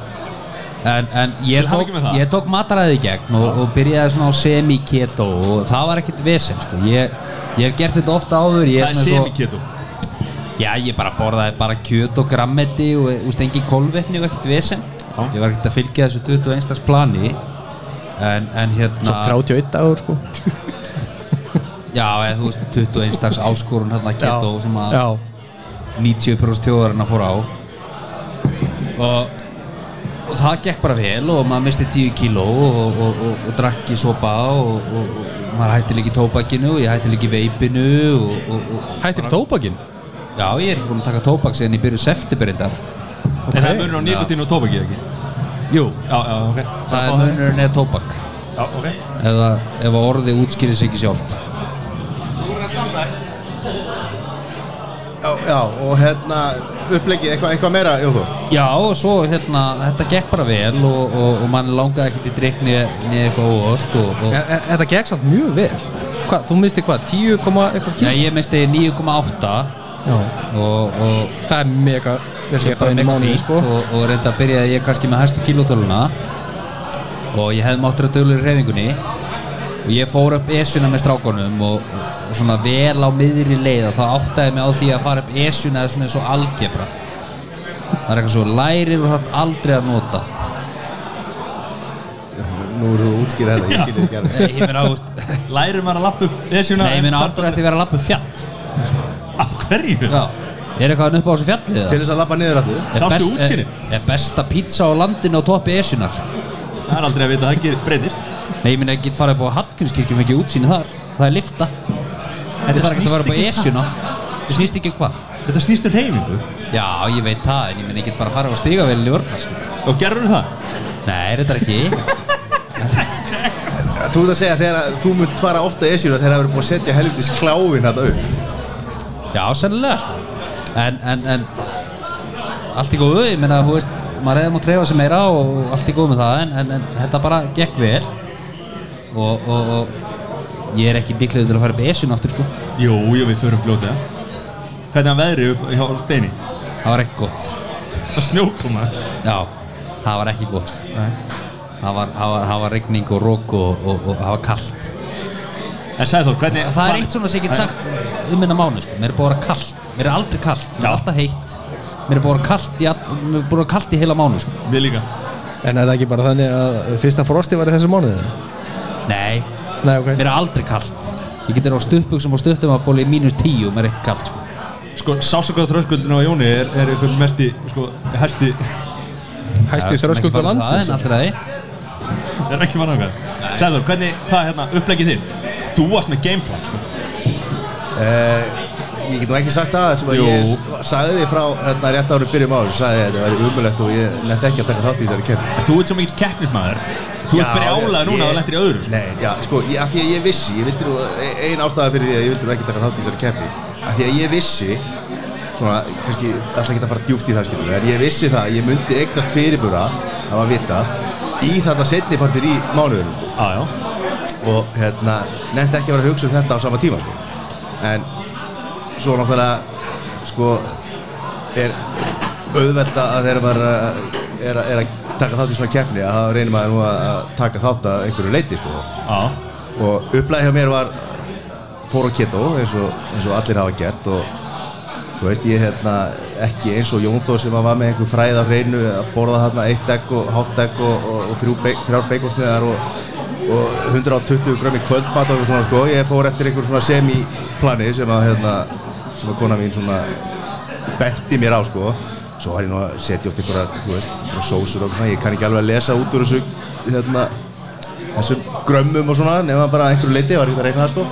Speaker 4: en, en ég,
Speaker 1: Til
Speaker 4: tók,
Speaker 1: hamingju með það.
Speaker 4: ég tók mataræði í gegn og, og byrjaði svona á semi-keto og það var ekkert vesen sko. ég, ég hef gert þetta ofta áður ég
Speaker 1: það er
Speaker 4: svona svo-
Speaker 1: semiketum
Speaker 4: já ég bara borðaði bara kjöt og grammeti og þú veist, engin kolvetni og ekkert vesen
Speaker 1: Já.
Speaker 4: ég var ekkert að fylgja þessu 21 stags plani en, en
Speaker 2: svo
Speaker 4: hérna
Speaker 2: 31 dagur sko
Speaker 4: já eða þú veist 21 stags áskorun hérna keto sem að
Speaker 2: já,
Speaker 4: 90% þjóðarinn að fóra á og, og það gekk bara vel og maður misti 10 kíló og, og, og, og, og drakk í sopa og, og, og maður hætti líka í tóbakinu og ég hætti líka í veipinu og, og, og,
Speaker 2: hættir tópakin
Speaker 4: Já, ég er ekki búin að taka tóbak síðan ég byrju septemberindar
Speaker 1: En það munur á nikotín og tóbaki ekki
Speaker 4: Jú
Speaker 1: Já, já, ok
Speaker 4: Það er munurinn eða tóbak
Speaker 1: Já, ok
Speaker 4: ef, það- ef að orðið útskýrir sig ekki sjálft
Speaker 3: já, já, og hérna upplegið eitthvað eitthva meira, Jóþór
Speaker 4: Já, og svo hérna, þetta gekk bara vel og, og, og mann langaði ekkert í drikk niður eitthvað óvart og, og
Speaker 2: E- e- Þetta gekk samt mjög vel Hva, Þú misti hvað, 10, komma eitthvað
Speaker 4: já,
Speaker 2: kíl?
Speaker 4: ég misti 9,8 og, og
Speaker 2: Það er mega vel
Speaker 4: ég
Speaker 2: sér
Speaker 4: bara
Speaker 2: það einu
Speaker 4: mega
Speaker 2: mánuði
Speaker 4: fínt
Speaker 2: sko
Speaker 4: og, og reynda að byrja ég kannski með hæstu kílótöluna og ég hefði mátt að dölur í reyfingunni og ég fór upp esuna með strákonum og, og svona vel á miðri leið og þá áttaði ég mig á því að fara upp esuna eða svona eins og algebra það er eitthvað svo lærir og hatt aldrei að nota
Speaker 3: Nú eru þú að útskýra þetta, ég skilja þetta
Speaker 4: Nei, ég meina, þú veist,
Speaker 1: (laughs) Lærir maður að lappa upp esjuna
Speaker 4: nei, ég meina aldrei ætti að vera að lappa upp fjall
Speaker 1: Af hverju?
Speaker 4: Já, er eitthvað hann upp á þessu fjalli
Speaker 3: (laughs) Til
Speaker 4: eða?
Speaker 3: þess að labba niður aftur
Speaker 4: Er
Speaker 1: Sástu
Speaker 4: best-
Speaker 1: útsýnið?
Speaker 4: Er, er besta pizza á landinu á toppi Esunar?
Speaker 1: Það er aldrei að vita að það gerir- breytist
Speaker 4: Nei, ég minna ekki fara upp á Hallgrímskirkju og ekki útsýni þar Það er lifta Þetta þarf ekki að fara upp á
Speaker 1: snýst ekki um
Speaker 4: Esjuna Þetta snýst ekki um hvað
Speaker 1: það. Þetta snýst um reyfingu
Speaker 4: Já, ég veit það, en ég minna ekki bara fara á stígavelin í vörpa sko.
Speaker 1: Og gerur það?
Speaker 4: Nei, þetta er ekki
Speaker 3: Þú ert að segja þegar að þú munt fara ofta esjuna þegar það eru búin að setja helvitis kláfin þetta upp
Speaker 4: Já, sennilega sko. en, en, en Allt í góðu, ég minna, þú veist Maður hefði mútt reyfa sig meira og allt í góðu með það En, en, en þetta bara gekk vel Og, og, og Ég er ekki líklegið til að fara upp Esjuna aftur sko.
Speaker 1: Jú, jú, við förum fljótlega Hvernig er hann veðri upp hjá Steini?
Speaker 4: Það var ekki gott
Speaker 1: Það snjókoma
Speaker 4: Já, það var ekki gott sko. það, var, það, var, það var rigning og rók og, og, og það var kallt
Speaker 1: En sagði þó, hvernig
Speaker 4: Það er eitt svona sem ég get sagt um minna mánu sko. Mér er búið að vera kallt, mér er aldrei kallt Mér er alltaf heitt Mér er búið að vera kallt í, all- mér er búið að vera kallt í heila mánu sko.
Speaker 1: Við líka
Speaker 2: En er það ekki bara þannig að fyrsta frosti var í þessu mánuði?
Speaker 4: Nei,
Speaker 2: Nei, ok
Speaker 4: mér er aldrei kallt Ég get þér á stuttbuxum og stuttum að bóli í mínus tíu Mér er ekki kallt sko.
Speaker 1: Sko, sásakaða þröskuldinu á Jóni er, er einhver mest í, sko, hæsti
Speaker 4: Já,
Speaker 2: Hæsti
Speaker 4: við skulum ekki
Speaker 2: þröskuld á
Speaker 4: fara út í það,
Speaker 2: landsins
Speaker 4: en allt í lagi.
Speaker 1: (laughs) Er ekki mann ákvæð Sæður, hvernig, hvað er hérna, upplegið þitt? Þú varst með gameplan, sko
Speaker 3: Eh, Ég get nú ekki sagt það sem að
Speaker 1: Jú.
Speaker 3: ég s- sagði því frá hérna rétt árum byrjum ári sagði að þetta væri umulegt og ég lent ekki að taka þátt í þessari kemur
Speaker 1: En Þú ert sem ekkert keppnismæður Þú ert brjálaður núna að það lendir í öðru sko.
Speaker 3: Nei, já, sko, ég, af því að ég vissi, ég vildi nú, e- ein ástæða fyrir því að ég vildi nú ekki taka þátt í þessari kemmi af því að ég vissi, svona, kannski, alltaf ekki að fara djúft í það skilur, en ég vissi það, að ég myndi eignast fyrirbura, það var vita, í þetta setnipartir í mánuðinu, sko
Speaker 1: Á, já.
Speaker 3: og hérna, nefndi ekki að vera að hugsa um þetta á sama tíma sko. en svo náttúrulega sko er auðvelda að þegar maður er, að- er, að- er að taka þátt í svona keppni að þá reynir maður nú að að taka þátt að einhverju leiti sko.
Speaker 1: Já.
Speaker 3: og upplæði hjá mér var fór á keto eins og, eins og allir hafa gert og þú veist ég hérna ekki eins og Jón Þór sem að var með einhver fræð af hreinu að borða þarna eitt egg og hálft egg og, og, og þrjú beik, þrjár beikostniðar og, og 120 grömmi kvöldmat og eitthvað svona sko ég fór eftir einhver svona semi-plani sem að hérna sem að kona mín svona benti mér á sko svo var ég nú að setja oft einhverjar þú veist, einhverjar sósur og eitthvað svona ég kann ekki alveg að lesa út úr þessu hérna þessum grömmum og svona nema bara að einhverju leiti var ég að reyna það sko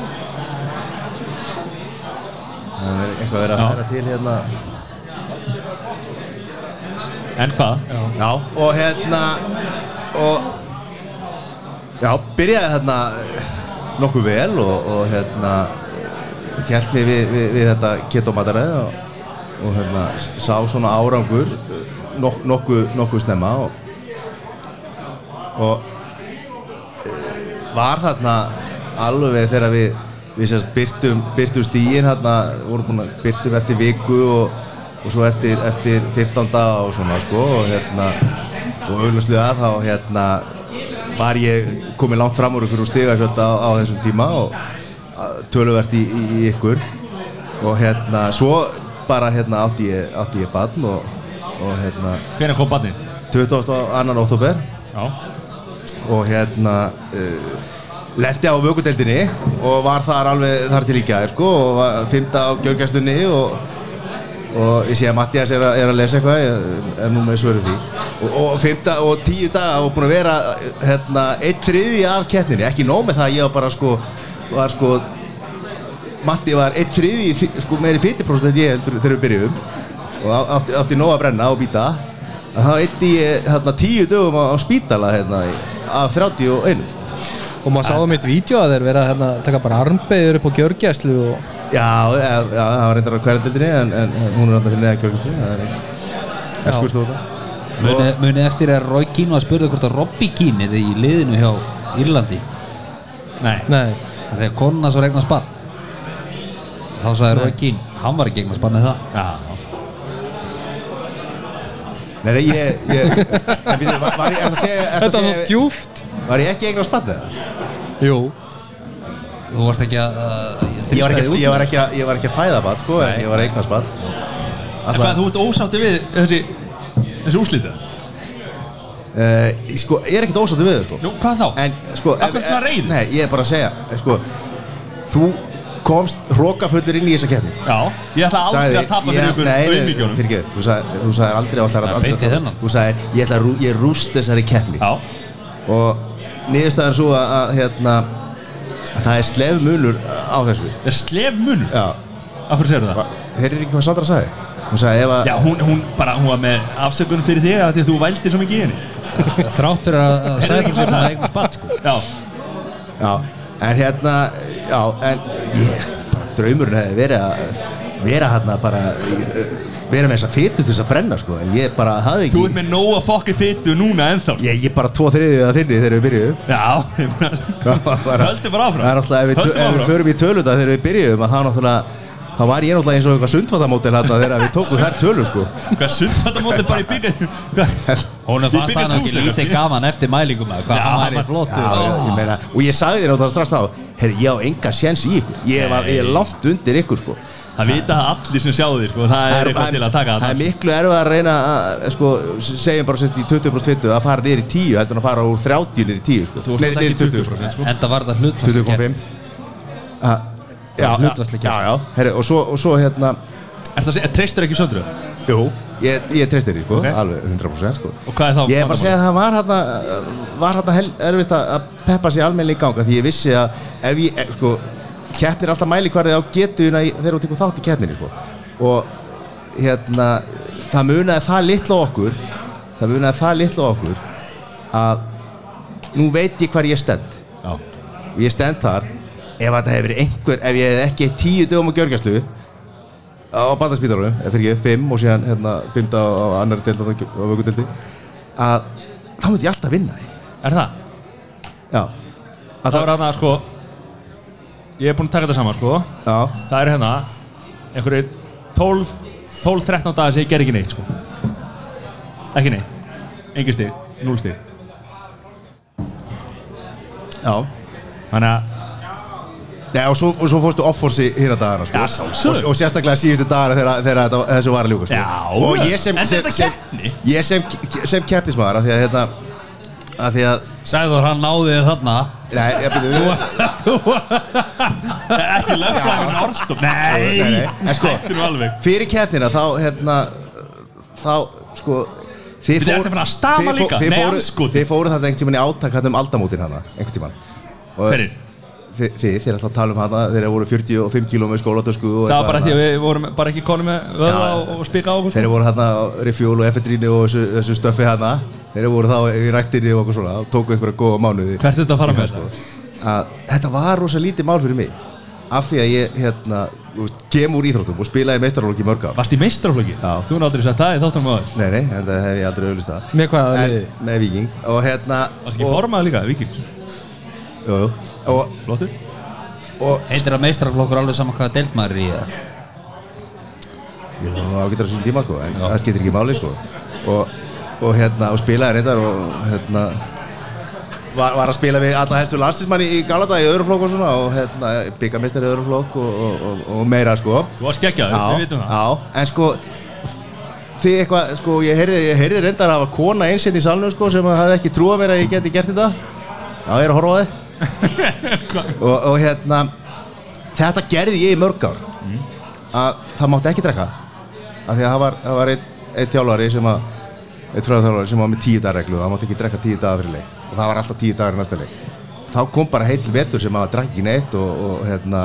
Speaker 3: það er eitthvað verið að færa til hérna
Speaker 1: En hvað?
Speaker 3: Já, og hérna og já, byrjaði hérna nokkuð vel og, og hérna hjælt mér við, við, við þetta ketomataræði og, og hérna sá svona árangur eh, nok, nokkuð, nokkuð snemma og, og eh, var þarna alveg þegar við við sérst byrtum, byrtum stíin hérna, vorum búin að byrtum eftir viku og, og svo eftir, eftir 15 daga og svona sko og hérna og auðvitað þá hérna var ég komið langt fram úr ykkur og stigafjölda á, á þessum tíma og að, töluvert í, í, í ykkur og hérna svo bara hérna átti ég, átti ég barn og, og hérna
Speaker 1: Hvernig kom barnið?
Speaker 3: 22. oktober
Speaker 1: Já.
Speaker 3: og hérna uh, lendi á vökudeldinni og var þar alveg þar til í gær sko og var fymta á gjörgjastunni og, og ég sé að Mattias er, að- er að lesa eitthvað ég er nú með svöruð því og, og fymta og tíu daga og búin að vera hérna eitt þriði af keppninni ekki nóg með það að ég var bara sko var sko Matti var eitt þriði í fi- sko, meiri 50% en ég heldur þegar við byrjuðum og á- átti, átti nóg að brenna og býta að það eitti ég hérna, tíu dögum á, á spítala hérna, í- af 31
Speaker 2: um Og maður sáðum eitt vídeo að þeir vera hérna, að taka bara armbeður upp á gjörgæslu og
Speaker 3: Já, já, já, það var reyndar á hverjandildinni en, en hún er reyndar fyrir neða kjörgjöldu Það er
Speaker 2: Já.
Speaker 3: skurst þú þetta
Speaker 4: Munið muni eftir að Roy Keane var að spurða hvort að Robbie Keane er í liðinu hjá Írlandi Nei,
Speaker 2: Nei,
Speaker 4: þegar konuna svo regna spann Þá sagði Roy Keane, hann var ekki eignar spann eða það Já,
Speaker 3: Nei, nei, ég, ég en býtum, var, var ég, er það að segja, er það
Speaker 2: þetta
Speaker 3: að
Speaker 2: var svo
Speaker 3: segja
Speaker 2: djúft
Speaker 3: Var ég ekki eignar spannið það?
Speaker 2: Jú
Speaker 4: þú varst ekki að uh,
Speaker 3: Ég var
Speaker 4: þrýsta
Speaker 3: ekki,
Speaker 4: þig
Speaker 3: ég var ekki, að- ég var ekki að fæða bad, sko, en ég var eignar spann
Speaker 1: En hvað, þú ert ósátti við þessi, þessi úrslita?
Speaker 3: uh, Sko, ég er ekkert ósáttu við þau, sko
Speaker 1: Jú, hvað þá?
Speaker 3: En, sko
Speaker 1: Af hverju
Speaker 3: ef-
Speaker 1: ertu svona
Speaker 3: ef-
Speaker 1: reiður?
Speaker 3: Nei, ég er bara að segja, eh, sko Þú komst hrókafullur inn í þessa kefni
Speaker 1: Já, ég ætla aldrei að tapa fyrir ykkur auðmíkjónum
Speaker 3: fyrir ekki, þú sagði, þú sagði aldrei og ætlar
Speaker 4: Það
Speaker 3: aldrei
Speaker 4: beinti
Speaker 3: að tapa
Speaker 4: þennan.
Speaker 3: Þú sagði, ég ætla að rú- ég rúst þessari keppni
Speaker 1: Já,
Speaker 3: og niðurstaðan er svo að, að hérna að það er slef munur á þessu
Speaker 1: það er slef munur
Speaker 3: Já,
Speaker 1: Af hverju segirðu það?
Speaker 3: heyrðir ekki hvað Sandra sagði? Hún sagði ef að
Speaker 1: Já, hún, hún bara, hún var með afsökun fyrir þig að því að þú vældir svo mikið í henni
Speaker 4: Þrátt fyrir að að
Speaker 1: Heyrðu
Speaker 4: segja
Speaker 1: ekki
Speaker 4: þú sér
Speaker 1: hvað
Speaker 4: það
Speaker 1: það-
Speaker 4: eignar spann sko
Speaker 1: Já,
Speaker 3: Já, en hérna já, en ég, bara draumurinn hefði verið að vera hérna bara eh, vera með þessa fytu til þess að brenna sko en ég bara hafði
Speaker 1: þú ert
Speaker 3: ekki
Speaker 1: með nóga fokki fytu núna ennþá
Speaker 3: ég, ég bara tvo þriðið að þinni þegar við byrjuðum (laughs)
Speaker 1: Já, ég bara
Speaker 3: Það var bara-
Speaker 1: Höldum bara áfram.
Speaker 3: Það er náttúrulega, ef við,
Speaker 1: Höldum
Speaker 3: ef við
Speaker 1: áfram.
Speaker 3: förum í töluta þegar við byrjuðum að það náttúrulega þá var ég náttúrulega eins og eitthvað sundfattamótel hérna þegar við tókum þær tölu sko
Speaker 1: Hvað sund þetta móti bara í byggjast
Speaker 4: Hún
Speaker 1: Þið
Speaker 4: fannst
Speaker 1: byggjast
Speaker 4: hann ekki
Speaker 1: húsið,
Speaker 4: lítið
Speaker 1: ekki?
Speaker 4: gaman eftir mælingum eða
Speaker 1: Já,
Speaker 4: hvað
Speaker 1: hann
Speaker 4: hann
Speaker 1: var-
Speaker 4: var flottur
Speaker 3: Já,
Speaker 4: og-
Speaker 3: ég meina, og ég sagði þér náttúrulega strax þá Herri, ég á enga séns í ykkur Ég, var, ég er langt undir ykkur sko
Speaker 1: Það vita það allir sem sjá þig, sko Það er eitthvað til að taka
Speaker 3: það er
Speaker 1: það
Speaker 3: miklu erfið að reyna að, sko, segjum bara sett í 20% að fara niður í 10 heldur en að fara úr 30 niður í 10 sko.
Speaker 1: Þú varst alltaf
Speaker 3: Nei,
Speaker 1: ekki
Speaker 3: niður í
Speaker 1: 20% sko
Speaker 4: Enda var þetta hlutvast
Speaker 3: 20,5 Ah, Já,
Speaker 4: Það er hlutfallsleg
Speaker 3: já,
Speaker 4: keppni.
Speaker 3: já, herri, og svo, og svo hérna
Speaker 1: Er það að segja, treystur ekki söndru?
Speaker 3: Jú, ég, ég treysti þér, sko,
Speaker 1: Ok.
Speaker 3: alveg 100% sko.
Speaker 1: Og hvað er þá
Speaker 3: Ég er bara að segja að það var hérna var hérna hel- erfitt að- að peppa sér almennilega í ganga því ég vissi að ef ég, eh, sko, keppnir alltaf mæli hverði á getuðina í- þegar þú tekur þátt í keppninni, sko og hérna það munaði það litla á okkur það munaði það litla á okkur að nú veit ég hvar ég stend
Speaker 1: Já.
Speaker 3: og ég stend þar ef þetta hefur verið einhver, ef ég hef ekki eitt tíu dögum á gjörgjastlu á bandaspítalunum, eða fyrir ekki, fimm og síðan hérna, fimmta á, á annar deild á vökkudeldi að þá myndi ég alltaf vinna því
Speaker 1: Er það?
Speaker 3: já, að
Speaker 1: Það var hérna sko Ég er búinn að taka þetta saman sko
Speaker 3: já,
Speaker 1: Það er hérna einhverju 12 12-13 dagar sem ég ger ekki neitt sko Ekki neitt Engin stig, 0 stig
Speaker 3: já
Speaker 1: Þannig að
Speaker 3: Nei, og, svo, og svo fórstu offorsi hérna dagana sko.
Speaker 1: Já, sjálfsögðu.
Speaker 3: og, og sérstaklega síðustu dagana þegar, þegar þetta, þessu var að ljúka sko.
Speaker 1: Já,
Speaker 3: og ég sem,
Speaker 1: en
Speaker 3: sem,
Speaker 1: þetta
Speaker 3: sem,
Speaker 1: keppni?
Speaker 3: ég sem, sem keppnismæður að því að hérna að því að
Speaker 4: Sæður hann náði þér þarna
Speaker 3: nei, ég byrju
Speaker 1: (laughs) ekki lögfræðin orðstof Nei,
Speaker 3: Nei, nei, en sko-
Speaker 1: Hættu nú alveg
Speaker 3: fyrir keppnina þá hérna þá sko þið
Speaker 1: Við ertu að fara að stama
Speaker 3: þið fó-
Speaker 1: líka?
Speaker 3: þið
Speaker 1: Nei, sko.
Speaker 3: fóru,
Speaker 1: andskoti.
Speaker 3: þið fóru þetta einhvern tímann í átak hann um aldamótin hana einhvern tímann Og
Speaker 1: Hverjir?
Speaker 3: þið, þið, þið er alltaf að tala um hana þeir voru 45 km skólatösku og
Speaker 1: Það var
Speaker 3: eitthvað
Speaker 1: bara
Speaker 3: hana.
Speaker 1: því að við vorum bara ekki konum með vöða
Speaker 3: Já,
Speaker 1: og, og spika á okkur sko.
Speaker 3: þeir voru hérna á Refjól og Efendrínu og þessu, þessu stöffi hana þeir voru þá í rættinni og okkur svona og tóku einhverja góða mánuði
Speaker 1: Hvert er þetta að fara
Speaker 3: sko.
Speaker 1: með þetta?
Speaker 3: að þetta var rosa lítið mál fyrir mig af því að ég hérna þú veist, kem úr íþróttum og spilaði meistarálóki í mörg ár
Speaker 1: Varst í meistarflöki?
Speaker 3: Já.
Speaker 1: Þú er aldrei sagt það í þáttum áður
Speaker 3: Nei, nei, en það hef ég aldrei auðvist það
Speaker 2: Með hvaða
Speaker 3: En-
Speaker 2: liði?
Speaker 3: Með Viking Og hérna
Speaker 1: Varst ekki
Speaker 3: og-
Speaker 1: formað líka, vikings?
Speaker 3: Jú, jú Og,
Speaker 1: Flottur?
Speaker 3: og
Speaker 4: Heitir að meistrarflokkur alveg saman hvaða deild maður er í eða?
Speaker 3: Ég var nú ágættur á þessum tíma sko En það skiptir ekki máli sko Og, og hérna Og spilaði reyndar Og hérna Var, var að spila við alla helstu landslismanni í Galata í öðrum flokk og svona og hérna byggamistari í öðrum flokk og, og, og, og meira sko
Speaker 1: Þú varst geggjaður, við vitum það
Speaker 3: Já, en sko þið eitthvað, sko, ég heyrði, ég heyrði reyndar að hafa kona einsinn í salnum, sko, sem að hafði ekki trúa mér að ég geti gert þetta Já, ég er að horfa á
Speaker 1: (laughs)
Speaker 3: þið og, og hérna þetta gerði ég í mörg ár að það mátti ekki drekka af því að það var, það var einn ein þjálfari sem að einn þjálfari sem var með tíu dagar reglu það mátti ekki drekka tíu dagar fyrir leik og það var alltaf tíu dagar í næsta leik þá kom bara heill vetur sem að drakki neitt og, og hérna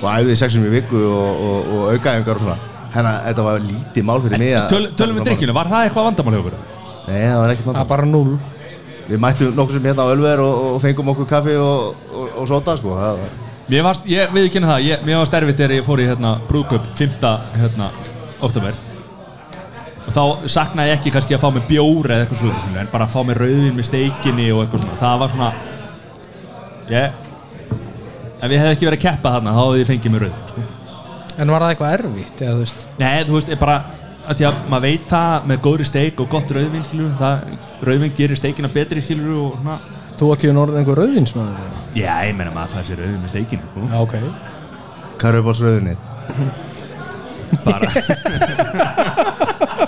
Speaker 3: og æfði sexum í viku og, og, og aukaðingar og svona hérna þetta var lítið mál fyrir mig að-
Speaker 1: Töl- Tölum við Ah, drikkinu, var það eitthvað vandamál hjá okkur?
Speaker 3: Nei, það var ekkert
Speaker 2: það
Speaker 3: vandamál
Speaker 2: er bara 0
Speaker 3: Við mættum nokkur sem hérna á Ölver og, og fengum okkur kaffi og, og, og sota sko það var
Speaker 1: Mér varst, ég viðkynna það, ég, mér var sterfitt þegar ég fór í hérna brúðköp 5. hérna oktober og þá saknaði ég ekki kannski að fá mér bjór eða eitthvað svona, en bara að fá mér rauðvin með steikinni og eitthvað svona, það var svona ég ef ég hef ekki verið að keppa þarna, þá hefði ég fengið mér rauð sko.
Speaker 2: En var það eitthvað erfitt, eða þú veist
Speaker 1: Nei, þú veist, ég bara að því að maður veit það með góðri steik og gott rauðvin, skilur, það rauðvin gerir steikina betri, skilur, og svona
Speaker 2: Þú ekki um orðin einhver rauðvinsmaður eða?
Speaker 1: já, ég meina maður fær sér rauðvin með steikinu
Speaker 3: (laughs)
Speaker 1: sko.
Speaker 2: Já, ok
Speaker 3: Hvað er upp á sröðunni?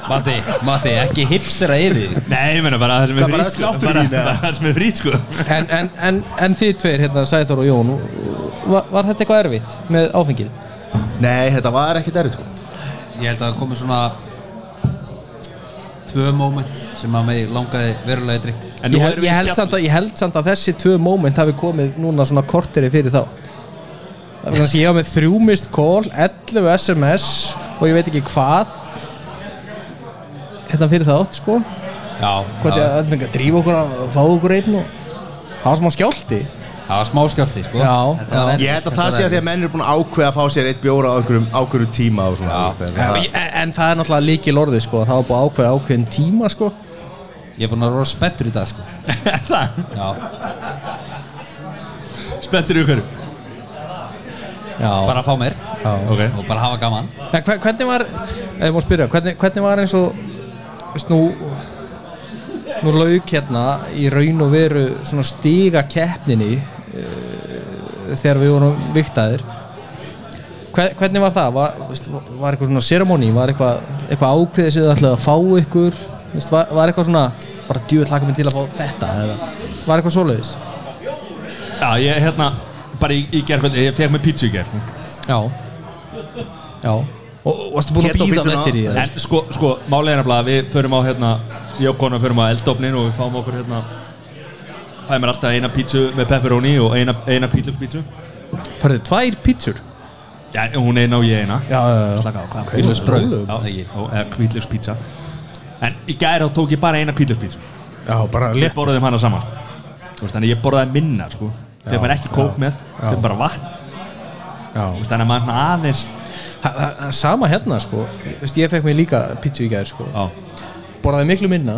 Speaker 4: Matti, Matti, ekki hipstera yfir þig.
Speaker 1: Nei, ég meina bara það sem er
Speaker 3: Hvað, bara
Speaker 1: frýt sko.
Speaker 3: öll
Speaker 1: bara,
Speaker 3: náttúruvín, eða?
Speaker 1: bara það sem er frýt sko.
Speaker 2: En, en, en, en þið tveir, hérna, Sæþór og Jón var, var þetta eitthvað erfitt með áfengið?
Speaker 3: Nei, þetta var ekkert errið sko
Speaker 4: Ég held að það komi svona tvö moment sem að mig langaði verulega í drikk
Speaker 1: En nú
Speaker 2: Ég,
Speaker 1: erum
Speaker 2: held-
Speaker 1: við
Speaker 2: ég,
Speaker 1: í
Speaker 2: held
Speaker 1: spjall-
Speaker 2: samt að, ég held samt að þessi tvö moment hafi komið núna svona korteri fyrir þá Þannig að ég var með þrjú mist call, 11 SMS og ég veit ekki hvað Hérna fyrir þátt, sko
Speaker 4: Já,
Speaker 2: Hvað
Speaker 4: það,
Speaker 2: er að drífa okkur að fá okkur einn og Það var smá skjálti
Speaker 4: það var smá skjálti sko
Speaker 2: Já,
Speaker 4: Þetta var
Speaker 2: já.
Speaker 4: erfitt.
Speaker 3: Ég held að
Speaker 4: Þetta
Speaker 3: það sé
Speaker 4: var
Speaker 3: að því að menn eru búin að ákveða að fá sér eitt bjóra á einhverjum ákveðu tíma og svona þú veist,
Speaker 2: en,
Speaker 3: en
Speaker 2: en það er náttúrulega líkil orðið, sko Það var búið að ákveða ákveðin tíma, sko
Speaker 4: Ég er búin að vera spenntur í dag sko
Speaker 1: Það,
Speaker 4: Já,
Speaker 1: spenntir ykkur
Speaker 2: Já,
Speaker 4: bara að fá mér
Speaker 2: já.
Speaker 1: Ok
Speaker 4: og bara hafa gaman
Speaker 2: En hver, hvernig var, ef ég má spyrja, hvernig, hvernig var eins og, veist nú, nú lauk hérna í raun og veru svona stiga keppninni uh, þegar við vorum viktaðir. Hver, hvernig var það? Var, veist, var eitthvað svona ceremoni, var eitthvað, eitthvað ákveðið sem þið ætlaði að fá ykkur? Veist, var, var eitthvað svona, bara djúið hlaka mig til að fá þetta eða var eitthvað svoleiðis?
Speaker 1: Já, ég hérna, bara í, í gerkvöld Ég fekk mér pítsu í gerð
Speaker 2: Já. Já. Og, og varstu búin að
Speaker 3: Keto
Speaker 2: býða
Speaker 3: pizzuna?
Speaker 2: eftir því? eða?
Speaker 1: En sko, sko, málega er nefnilega að Við förum á hérna, ég og konan förum á eldofnin Og við fáum okkur hérna Fæði mér alltaf eina pítsu með pepperoni Og eina, eina pítlugspítsu
Speaker 2: Færðu tvær pítsur?
Speaker 1: Já, hún eina og ég eina
Speaker 2: Já, já, já.
Speaker 1: Slaka á, hvað er
Speaker 2: Hvítlauksbrauð?
Speaker 1: Já, já, eða hvítlugspítsa En í gæri þá tók ég bara eina hvítlugspítsu
Speaker 2: Já, bara
Speaker 1: Við borðum hana saman Þú veist, Þannig ég borðaði minna sko. Þegar maður ekki kók með Þegar bara vatn
Speaker 2: Já.
Speaker 1: Þú veist, Þannig að maður svona aðeins
Speaker 2: Ha- ha- ha- Sama hérna sko Þú veist, Ég fekk mér líka pítsu í gær sko
Speaker 1: Já,
Speaker 2: Borðaði miklu minna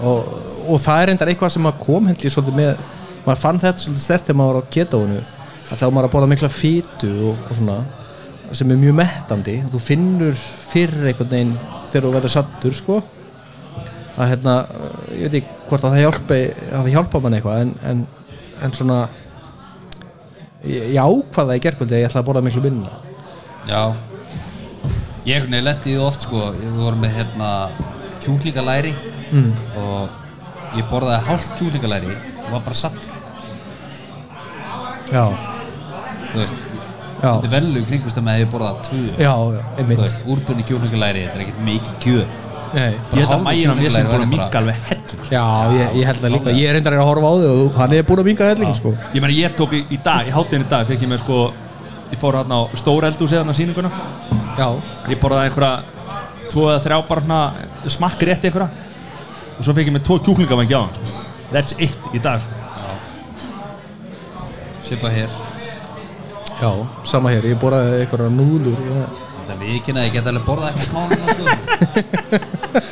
Speaker 2: og, og það er endar eitthvað sem maður kom held ég svolítið með Maður fann þetta svolítið stert þegar maður var á ketóinu að þá var maður að borða mikla fýtu og, og svona sem er mjög mettandi þú finnur fyrir einhvern veginn þegar þú verður sattur sko að hérna, eh, ég veit ekki hvort að það hjálpi hafi hjálpað mann eitthvað en, en, en svona ég, ég ákvaða í gerkvöldi að ég ætla að borða miklu minna
Speaker 4: Já Ég einhvern veginn lendi í því oft sko Ég voru með hérna kjúklingalæri mm. og ég borðaði hálft kjúklingalæri og var bara sattur
Speaker 2: Já,
Speaker 4: þú veist
Speaker 2: já
Speaker 4: Þetta er venlu kringustum að ég borðaði tvö
Speaker 2: Já, já,
Speaker 4: Þú
Speaker 2: einmitt
Speaker 4: veist, úrbunni kjúklingalæri, þetta er ekkert mikið kjöt
Speaker 2: Nei.
Speaker 1: ég held að
Speaker 4: hálfur
Speaker 1: mægin á mér sem búin
Speaker 4: kjúklingalæri
Speaker 1: að
Speaker 4: væri bara-
Speaker 1: minka alveg hell
Speaker 2: Já, ég, ég held það líka Ég er reyndar að horfa á þig og þú- hann er búin að minga helling sko.
Speaker 1: Ég meina ég tók í, í dag, í hátinn í dag Fekk ég með sko Ég fór hérna á stóreldu og séð hérna sýninguna
Speaker 2: Já,
Speaker 1: Ég borðaði einhverja Tvo eða þrjá bara hérna Smakk rétt einhverja Og svo fekk ég með tvo kjúklingavængi á hann sko. That's it í dag (laughs)
Speaker 4: Svipa hér
Speaker 2: já, sama hér Ég borðaði einhverja núlur já.
Speaker 4: Þetta er viðkynna, ég get alveg borðað eitthvað smáðan sko.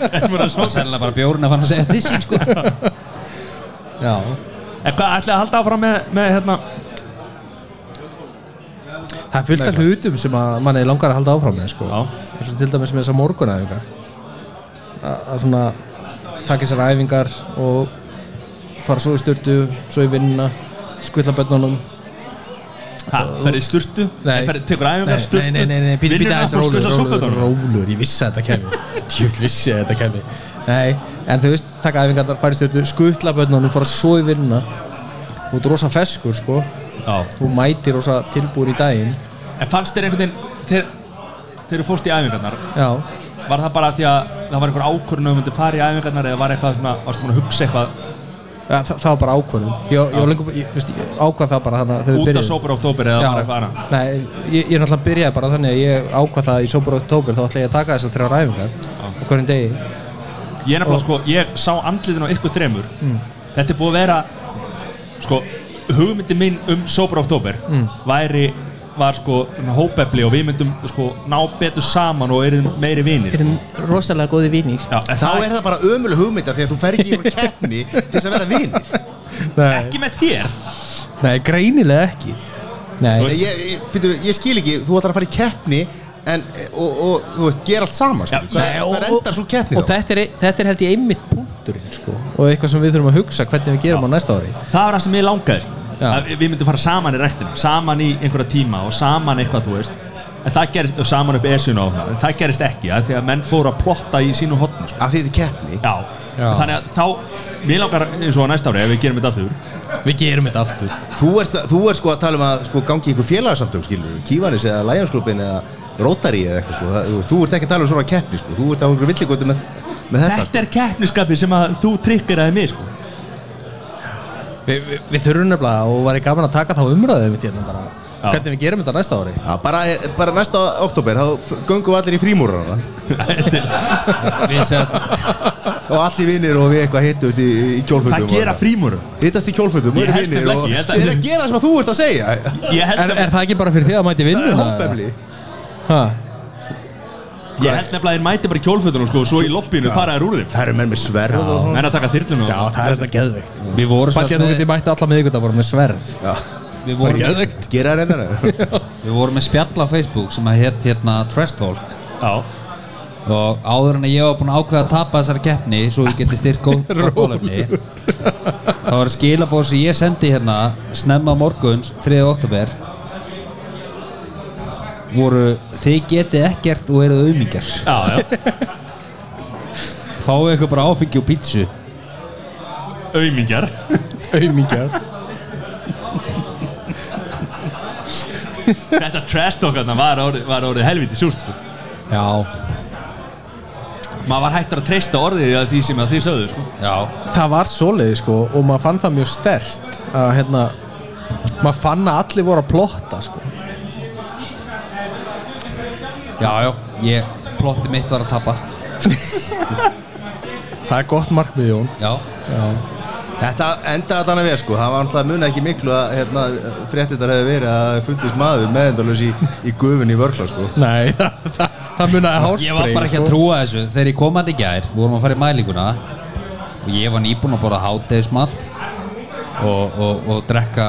Speaker 1: En
Speaker 4: Það er sennilega bara bjórinn að fann að segja dissin
Speaker 2: (laughs)
Speaker 4: sko.
Speaker 2: já,
Speaker 1: hvað ætlaði að halda áfram með, með hérna
Speaker 2: það er fullt af hlutum sem að manni langar að halda áfram með sko.
Speaker 1: Já.
Speaker 2: eins og til dæmis með þessar morgunæfingar A- að svona taka þessar æfingar og fara svo í styrtu svo í vinnuna, skvilla bönnunum
Speaker 1: Ha, ferði í sturtu?
Speaker 2: Nei.
Speaker 1: Ferði, tekur aðeins sturtu?
Speaker 2: Nei, nei, nei, nei, býta býta aðeins
Speaker 1: rólur,
Speaker 2: rólur,
Speaker 1: rólur,
Speaker 2: rólur, rólur, ég vissi að þetta kemur Djúvill vissi að þetta kemur Nei, en þú veist, taka æfingarnar, færi stjórnu, skutla börnunum, fara svo í vinna Þú ert rosa feskur, sko
Speaker 1: Já.
Speaker 2: Þú mætir rosa tilbúin í daginn
Speaker 1: En fannst þér einhvern veginn, þegar þegar þú fórst í æfingarnar,
Speaker 2: Já,
Speaker 1: var það bara því að það var einhver ákvörðun um að þú myndi fara í æfingarnar eða var eitthvað svona, varstu búin að hugsa eitthvað
Speaker 2: Þa, það, það var bara ákvörðum Ég, ég, var lengur, ég, veist, ég ákvað það bara þannig að þau
Speaker 1: út af sópur oktober eða var eitthvað annað?
Speaker 2: Nei, ég, ég náttúrulega byrjaði bara þannig að ég ákvað það í sópur og tókur þá ætla ég að taka þessar þrjár æfingar á hverjum degi
Speaker 6: Mm.
Speaker 1: Ég er nefnilega sko, ég sá andlitin á ykkur þremur Þetta er búið að vera sko, hugmyndi mín um Sober Oktober
Speaker 6: Mm.
Speaker 1: væri var sko svona hópefli og við myndum sko ná betur saman og erum meiri vinir sko.
Speaker 6: Erum rosalega góði vinir
Speaker 1: Já, en
Speaker 3: Þá er það bara ömuleg hugmynda því að þú fer ekki í einhver keppni til þess að vera vinir
Speaker 2: Nei,
Speaker 1: ekki með þér
Speaker 2: nei greinilega ekki Nei,
Speaker 3: Ég, ég, byrju, ég skil ekki, þú ætlar að fara í keppni en, og, og þú veist, gera allt saman ja, hvað,
Speaker 2: Nei, og-
Speaker 3: hvað endar svo keppni
Speaker 2: og þetta er, þetta er held ég einmitt punkturinn sko og eitthvað sem við þurfum að hugsa hvernig við gerum á næsta ári
Speaker 1: það var það sem ég langaði sko.
Speaker 2: Já.
Speaker 1: að við myndum fara saman í rektina saman í einhverja tíma og saman eitthvað þú veist en það gerist og saman upp esuna og það en það gerist ekki að því að menn fóru að plotta í sínu hotni
Speaker 3: Af því þetta er keppni
Speaker 1: já.
Speaker 2: Já.
Speaker 1: þannig að þá mér langar eins og á næsta ári ef við gerum þetta aftur
Speaker 2: Við gerum þetta aftur
Speaker 3: þú ert, þú ert sko að tala um að sko, gangi í einhver félagsamtöng skilur Kívanis eða Læjansklubin eða Rótari eða eitthvað sko. það, þú, veist, þú ert ekki að tala um svona keppni sko. þú ert á einhver villigóti með, með þetta
Speaker 1: þetta er keppniskapið sem að þú tryggir aðeins mig sko.
Speaker 2: Vi, vi, við þurfum nefnilega og væri gaman að taka þá umræðu mitt hérna bara hvernig við gerum þetta næsta ári
Speaker 3: ja, bara, bara næsta oktober þá f- göngum við allir í frímúrana
Speaker 4: Við sem
Speaker 3: og allir vinnir og við eitthvað hittumst í, í kjólfötum
Speaker 1: það gera frímúru
Speaker 3: hittast í kjólfötum og
Speaker 1: Ég
Speaker 3: eru
Speaker 1: held
Speaker 3: vinnir
Speaker 1: nefnilega
Speaker 3: og
Speaker 1: ekki, ég held að-
Speaker 3: þetta er að gera það sem að þú ert að segja
Speaker 1: ég held
Speaker 2: er,
Speaker 1: nefnilega
Speaker 2: er það ekki bara fyrir því að mæti
Speaker 3: það er
Speaker 2: vinnuna?
Speaker 3: hópefli
Speaker 2: Ha?
Speaker 1: ég held nefnilega að þeir mæti bara í kjólfötunum sko, og svo í loppinu faraðir úr þeim
Speaker 3: það eru menn með sverð og svona
Speaker 1: en að taka þyrlunum
Speaker 2: Já, það er þetta geðveikt
Speaker 4: Við vorum
Speaker 2: Bætti að þú
Speaker 4: svolítið
Speaker 2: getur mætti alla miðvíkuta bara með sverð
Speaker 3: Já.
Speaker 4: Við vorum,
Speaker 3: gera það reyndar
Speaker 4: við vorum með spjall á Facebook sem að hétt hérna Trash Talk
Speaker 1: Já.
Speaker 4: og áður en að ég var búinn að ákveða að tapa þessari keppni svo ég geti styrt (laughs) góð gólefni þá var skilabóð sem ég sendi hérna snemma morguns 3. oktober voru þið getið ekkert og eruð auðmingjar
Speaker 1: Já, já.
Speaker 4: fáið ykkur bara áfengi og pítsu
Speaker 1: aumingjar
Speaker 2: Aumingjar
Speaker 1: þetta trash talk þarna var orðið, var orðið helviti súrt sko.
Speaker 2: Já,
Speaker 1: maður var hættur að treysta orðið að því sem að þið sögðu sko.
Speaker 4: já,
Speaker 2: það var svoleiði sko og maður fann það mjög stert að hérna maður fann að allir voru að plotta sko
Speaker 4: já, já ég, plotti mitt var að tapa
Speaker 2: Það er gott markmið Jón
Speaker 4: já,
Speaker 2: Já,
Speaker 3: Þetta enda allan að vera sko, það var alltaf muna ekki miklu að hérna, fréttinnar hefði verið að fundist maður meðendalus í, í gufunni í vörkla sko.
Speaker 2: nei, (laughs) það, það, það munaði hálsbreið
Speaker 4: ég var bara
Speaker 2: sko.
Speaker 4: ekki að trúa þessu þegar ég komandi gær, við vorum að fara í mælinguna og ég var nýbúinn að borða hátegismat og, og, og drekka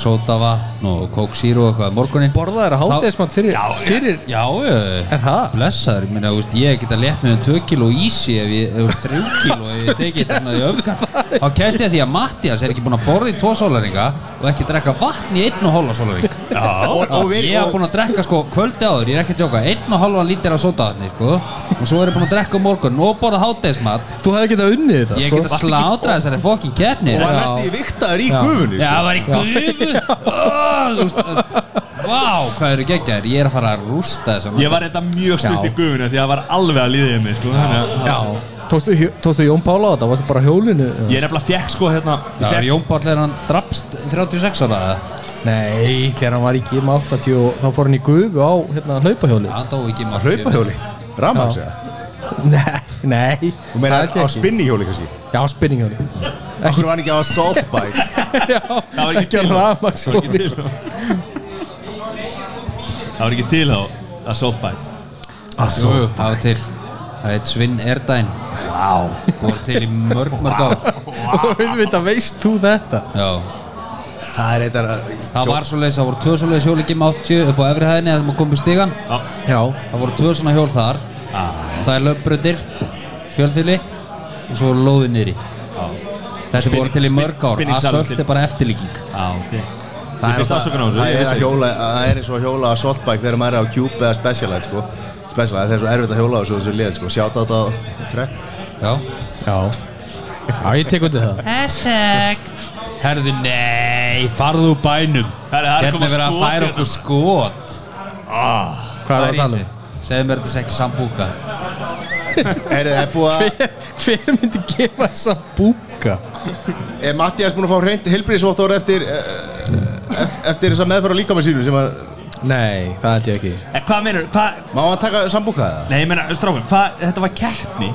Speaker 4: sótavatn og kóksýru og eitthvað morgunin
Speaker 2: Borðaðir að hátegismat fyrir, fyrir
Speaker 4: Já,
Speaker 2: Er það?
Speaker 4: Blessaður, ég meina, þú veist, ég geta létt með um 2 kilo ísi ef ég, ef 3 kilo ef
Speaker 2: (laughs)
Speaker 4: ég tekið þarna í öfgar Þá kæst ég því að Mattias er ekki búinn að borða í 2 sólaringa og ekki drekka vatn í 1,5 sólaring Já,
Speaker 3: og, og, við,
Speaker 4: ég hef
Speaker 3: og,
Speaker 4: búinn að drekka sko kvöldi áður, ég er ekki að djóka 1,5 lítir af sótavatni, sko og svo er ég búinn að drekka um morgun og borða hátegismat
Speaker 2: Þú hefði getað unnið þetta
Speaker 4: Ég
Speaker 2: sko
Speaker 4: geta slátra þessari fokkin keppni
Speaker 3: og var
Speaker 4: Já.
Speaker 3: næstu í viktaður í gufunni
Speaker 4: Já,
Speaker 3: sko.
Speaker 4: það var í
Speaker 3: (laughs)
Speaker 4: gufu Ó, þú veist, Vá, hvað eru geggjar Ég er að fara að rústa þessum
Speaker 1: ég var þetta mjög stutt í
Speaker 4: Já.
Speaker 1: guðuna því að það var alveg að líðið mig sko. þannig að-
Speaker 2: Já, tókstu, hjó- tókstu Jón Pála á þetta, varstu bara á hjólinu
Speaker 1: ég er nefnilega fekk sko hérna ég
Speaker 4: Já,
Speaker 1: fékk-
Speaker 4: er Jón Páll er hann drapst 36 ára eða?
Speaker 2: Nei, þegar hann var í Gim 80 og þá fór hann í gufu á hérna
Speaker 4: Já,
Speaker 2: hlaupahjólið
Speaker 4: hann dó ekki
Speaker 3: á hlaupahjóli, rammags
Speaker 2: Já.
Speaker 3: eða
Speaker 2: (laughs) Nei, nei
Speaker 3: þú meina
Speaker 2: það held ég
Speaker 3: á
Speaker 2: ekki.
Speaker 3: spinnihjóli kannski
Speaker 2: Já, spinninghjóli
Speaker 3: okkur var hann ekki á saltbike
Speaker 2: (laughs) Já,
Speaker 1: það var ekki
Speaker 2: ekki
Speaker 1: til. það var ekki
Speaker 2: rafmagnshjóli
Speaker 1: til þá. það var ekki til þá að softbæ
Speaker 4: Jú, jú, það var til Það heit Svinn Erdæn Vá Og var til í mörg mörg ár
Speaker 2: Og auðvitað veist þú þetta
Speaker 4: Já
Speaker 3: það er eitthvað
Speaker 4: Það var svoleiðis, það voru tvö svoleiðis hjóli Gim 80 upp á efri hæðinni Það sem að komið stígan
Speaker 2: Já,
Speaker 4: Það voru tvö svona hjól þar Það er löfbröðir Fjölþýli Og svo voru lóðið niðri Þessi voru til í mörg ár
Speaker 1: spinning-
Speaker 4: Assault er bara eftirlíking
Speaker 1: ég finnst ásökun á þessu
Speaker 3: það
Speaker 1: ég
Speaker 3: er
Speaker 1: vissi
Speaker 3: að hjóla það er eins og að hjóla á saltbike þegar maður er á Cube eða Specialized sko Specialized, það er svo erfitt að hjóla á þessu- þessu liðin sko sjáta á þetta trekk
Speaker 4: Já
Speaker 2: já Já, ég tek undir það
Speaker 5: Hashtag
Speaker 4: Herðu, nei, farðu úr bænum
Speaker 1: Herri, það er
Speaker 4: Hérna
Speaker 1: komið
Speaker 4: er verið að
Speaker 1: skot
Speaker 4: færa
Speaker 1: hérna.
Speaker 4: okkur skot
Speaker 1: Ah.
Speaker 2: Hvað er það að tala um?
Speaker 4: Segðu mér þetta sé ekki sambúka
Speaker 3: er, er, búið að-
Speaker 2: Hver, hver myndi gefa þessa búka?
Speaker 3: er Mattias búin að fá hreint helbriðsvottor eftir, eh, eftir eftir þessa meðferð á líkamenn sínum sem að
Speaker 2: Nei, það held ég ekki
Speaker 1: en hvað meinur hvað
Speaker 3: Má hann taka sambúka það?
Speaker 1: nei ég meina strákum hvað þetta var keppni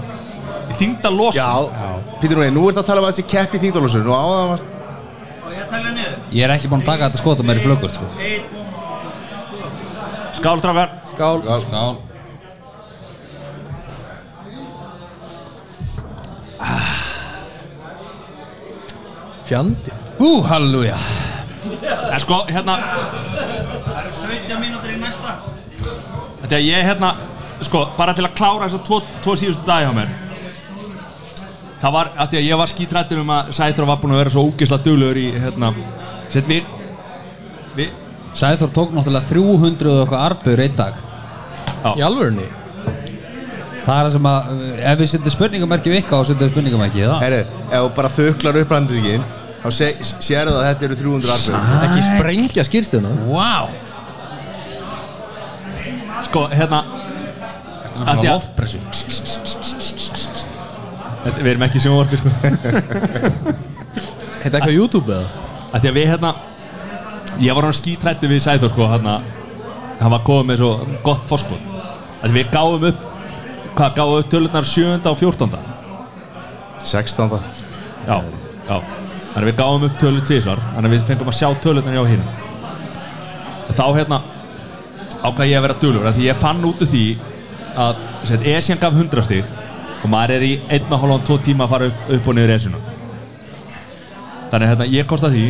Speaker 1: þingda losun
Speaker 3: Já, Pítur Núi, nú ert að tala um að þessi kepp í þingdalósun og áðan varst
Speaker 8: Og ég telja niður
Speaker 4: Ég er ekki búinn að taka þetta skotum mér í flöggurt sko
Speaker 8: Einn,
Speaker 1: Skál, strafgar
Speaker 2: Skál
Speaker 4: Skál
Speaker 2: Fjandi
Speaker 4: Ú, halleluja
Speaker 1: En sko, hérna,
Speaker 8: það eru 17 mínútur í næsta
Speaker 1: þegar ég hérna Sko, bara til að klára þess að tvo, tvo síðustu dag hjá mér Það var, af því að ég var skítrættur um að Sæþrá var búinn að vera svo ógeðslega duglegur í, hérna Sett mér Við,
Speaker 4: Sæþór tók náttúrulega 300 og eitthvað arbur einn dag
Speaker 2: Í alvörunni
Speaker 4: Það er það sem að, eh, ef við setjum spurningamerki við ykkar og setjum spurningamerki í það
Speaker 3: Herru, ef þú bara föklar upp handrikinn þá sé, sérðu það að þetta eru 300 arbjörn
Speaker 2: Ekki sprengja skýrstuna
Speaker 4: Vá
Speaker 1: sko, hérna
Speaker 4: Þetta
Speaker 1: Af því að-
Speaker 4: lofpressu
Speaker 1: þetta- Við erum ekki sem orði, sko
Speaker 2: Þetta eitthvað YouTube eða?
Speaker 1: að því að við hérna ég var hann skítrætti við Sæþór sko hérna hann var komið með svo gott foskot að við gáum upp hvað gáum upp tölunar 7. og 14.
Speaker 3: 16.
Speaker 1: já, já þannig að við gáum upp tölu tvísvar þannig að við fengum að sjá tölunar hjá hinn og þá hérna ákvað ég að vera dölur því ég fann út úr því að sett, Esjan gaf 100 stig og maður er í 1,5-2 tíma að fara upp, upp og niður Esjuna þannig að hérna, ég kosta því